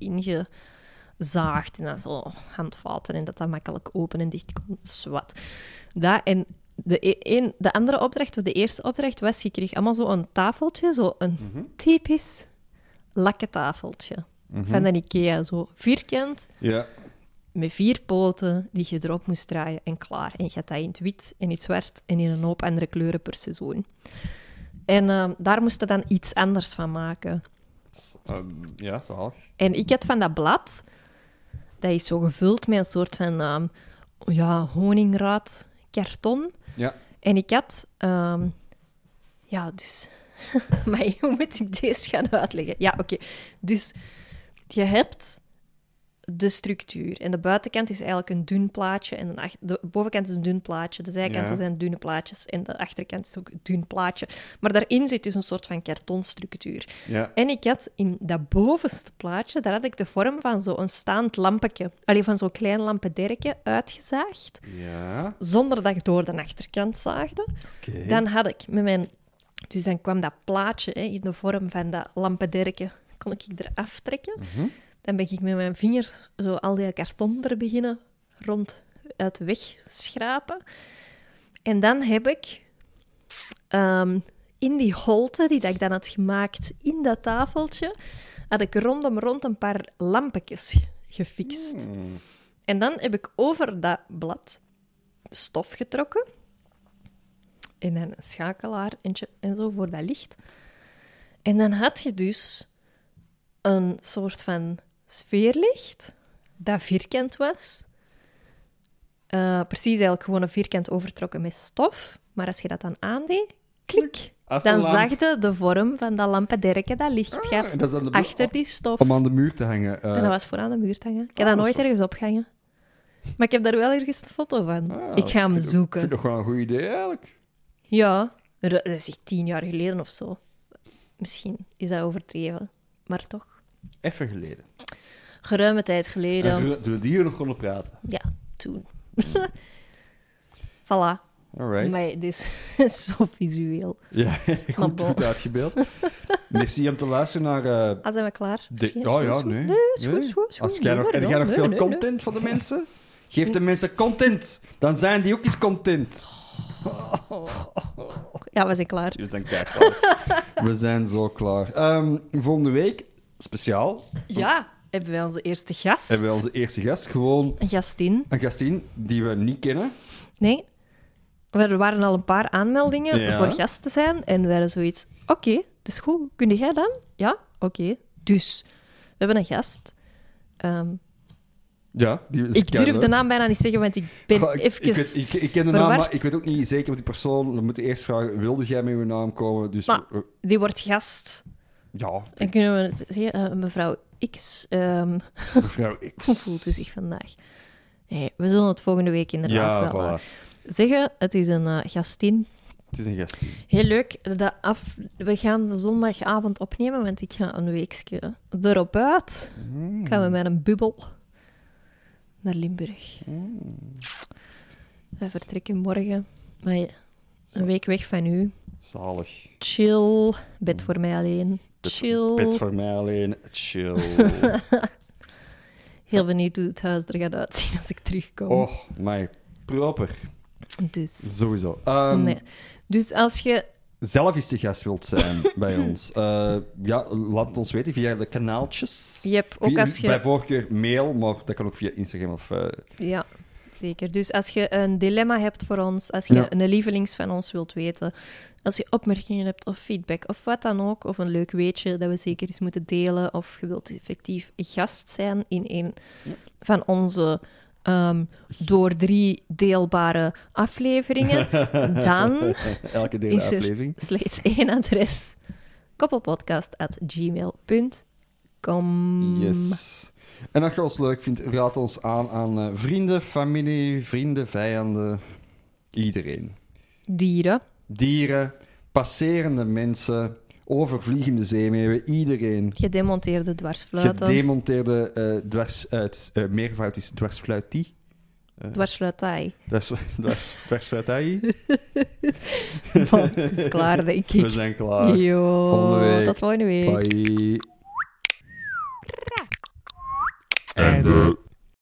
ingezaagd. En dan zo handvaten en dat dat makkelijk open en dicht kon. Zwat. Dat en de, e- een, de andere opdracht, of de eerste opdracht, was je kreeg allemaal zo een tafeltje. Zo een typisch lakken tafeltje. Van de Ikea. Zo vierkant, Ja. met vier poten die je erop moest draaien en klaar. En je had dat in het wit, in het zwart en in een hoop andere kleuren per seizoen. En ehm, daar moest je dan iets anders van maken. Ehm, ja, zalig. En ik had van dat blad, dat is zo gevuld met een soort van ehm, ja, honingraad karton. Ja. En ik had, ehm, ja, dus. maar hoe moet ik deze gaan uitleggen? Ja, oké. Dus je hebt de structuur. En de buitenkant is eigenlijk een dun plaatje en de, ach- de bovenkant is een dun plaatje. De zijkanten Ja. zijn dunne plaatjes en de achterkant is ook een dun plaatje. Maar daarin zit dus een soort van kartonstructuur. Ja. En ik had in dat bovenste plaatje, daar had ik de vorm van zo'n staand lampetje, alleen van zo'n klein lampederkje uitgezaagd, Ja. zonder dat ik door de achterkant zaagde. Oké. Dan had ik met mijn... Dus dan kwam dat plaatje hè, in de vorm van dat lampederkje, kon ik eraf trekken. Dan ben ik met mijn vingers zo al die karton er beginnen rond uit de weg schrapen. En dan heb ik ehm, in die holte die dat ik dan had gemaakt in dat tafeltje, had ik rondom rond een paar lampetjes Mm. gefixt. En dan heb ik over dat blad stof getrokken. En dan een schakelaar en, tje- en zo voor dat licht. En dan had je dus een soort van sfeerlicht dat vierkant was. Eh, precies eigenlijk gewoon een vierkant overtrokken met stof. Maar als je dat dan aandeed, klik, Als dan een lamp. zag je de vorm van dat lampederkje dat licht gaf en Ah, dat is aan de bo- achter die stof. Om aan de muur te hangen. eh, Ah, En dat was voor aan de muur te hangen. Ik heb dat nooit ergens opgehangen. Maar ik heb daar wel ergens een foto van. ah, ik ga hem vind- zoeken. Vind ik nog wel een goed idee, eigenlijk. Ja, dat dat is echt tien jaar geleden of zo. Misschien is dat overdreven, maar toch. Even geleden. Geruime tijd geleden. En Toen toen we die hier nog konden praten. Ja, toen. voilà. Alright. Maar dit is- is zo visueel. Ja, Maar goed, bon. goed uitgebeeld. Merci om te luisteren naar... eh, Ah, zijn we klaar? de- Is geen- Oh is ja, goed, nee. Nee, is goed, Nee. is goed, is goed. Als jij nog, Nee, heb jij nee, nog nee, veel nee, content van de mensen? Geef de mensen content. Dan zijn die ook eens content. Oh. nee. Ja, we zijn klaar. We zijn klaar. We zijn zo klaar. Ehm, volgende week, speciaal, Ja, hebben wij onze eerste gast. hebben we onze eerste gast. Gewoon Een gastin. een gastin die we niet kennen. Nee. Er waren al een paar aanmeldingen Ja. voor gast te zijn. En we hadden zoiets. Oké, het is goed. Kun jij dan? Ja, oké. Dus, we hebben een gast. Ehm, Ja, die is ik durf keihard. de naam bijna niet zeggen, want ik ben Goh, Oh, ik- even... Ik, weet- ik, ik ken de naam, maar verward. ik weet ook niet zeker wat die persoon... We moeten eerst vragen, wilde jij met uw naam komen? Dus Maar- eh, Die wordt gast. ja, En kunnen we het zeggen? Eh, mevrouw X, ehm, mevrouw X. hoe voelt u zich vandaag? Nee, we zullen het volgende week inderdaad Ja, wel eh, voilà. zeggen. Het is een eh, gastin. Het is een gastin. Heel leuk. De af... We gaan de zondagavond opnemen, want ik ga een weekje erop uit. Mm. Gaan we met een bubbel naar Limburg. Mm. We vertrekken morgen. Maar ja, een week weg van u. Zalig. Chill. Bed voor mij alleen. Bed- Chill. Bed voor mij alleen. Chill. Heel benieuwd hoe het huis er gaat uitzien als ik terugkom. oh, my. Proper. Dus, Sowieso. Ehm, nee. dus als je... Zelf eens te gast wilt zijn bij ons. Eh, ja, laat het ons weten via de kanaaltjes. Je hebt ook Via- als je... Bij voorkeur mail, maar dat kan ook via Instagram of... eh, Ja, zeker. Dus als je een dilemma hebt voor ons, als je Ja. een lievelings van ons wilt weten, als je opmerkingen hebt of feedback of wat dan ook, of een leuk weetje dat we zeker eens moeten delen, of je wilt effectief gast zijn in een van onze ehm, door drie deelbare afleveringen, dan elke deel is er aflevering. slechts één adres. koppelpodcast.gmail.com Mm. Yes. En als je ons leuk vindt, raad ons aan aan eh, vrienden, familie, vrienden, vijanden. Iedereen. Dieren. Dieren, passerende mensen, overvliegende zeemeeuwen, iedereen. Gedemonteerde dwarsfluiten. Gedemonteerde eh dwars, uit, eh, meervoud is dwarsfluitie. Dwarsfluitij. Dwars, dwars, dwarsfluitai. Bon, het is klaar, denk We ik. zijn klaar. Jo, Volgende week. tot volgende week. Bye. En de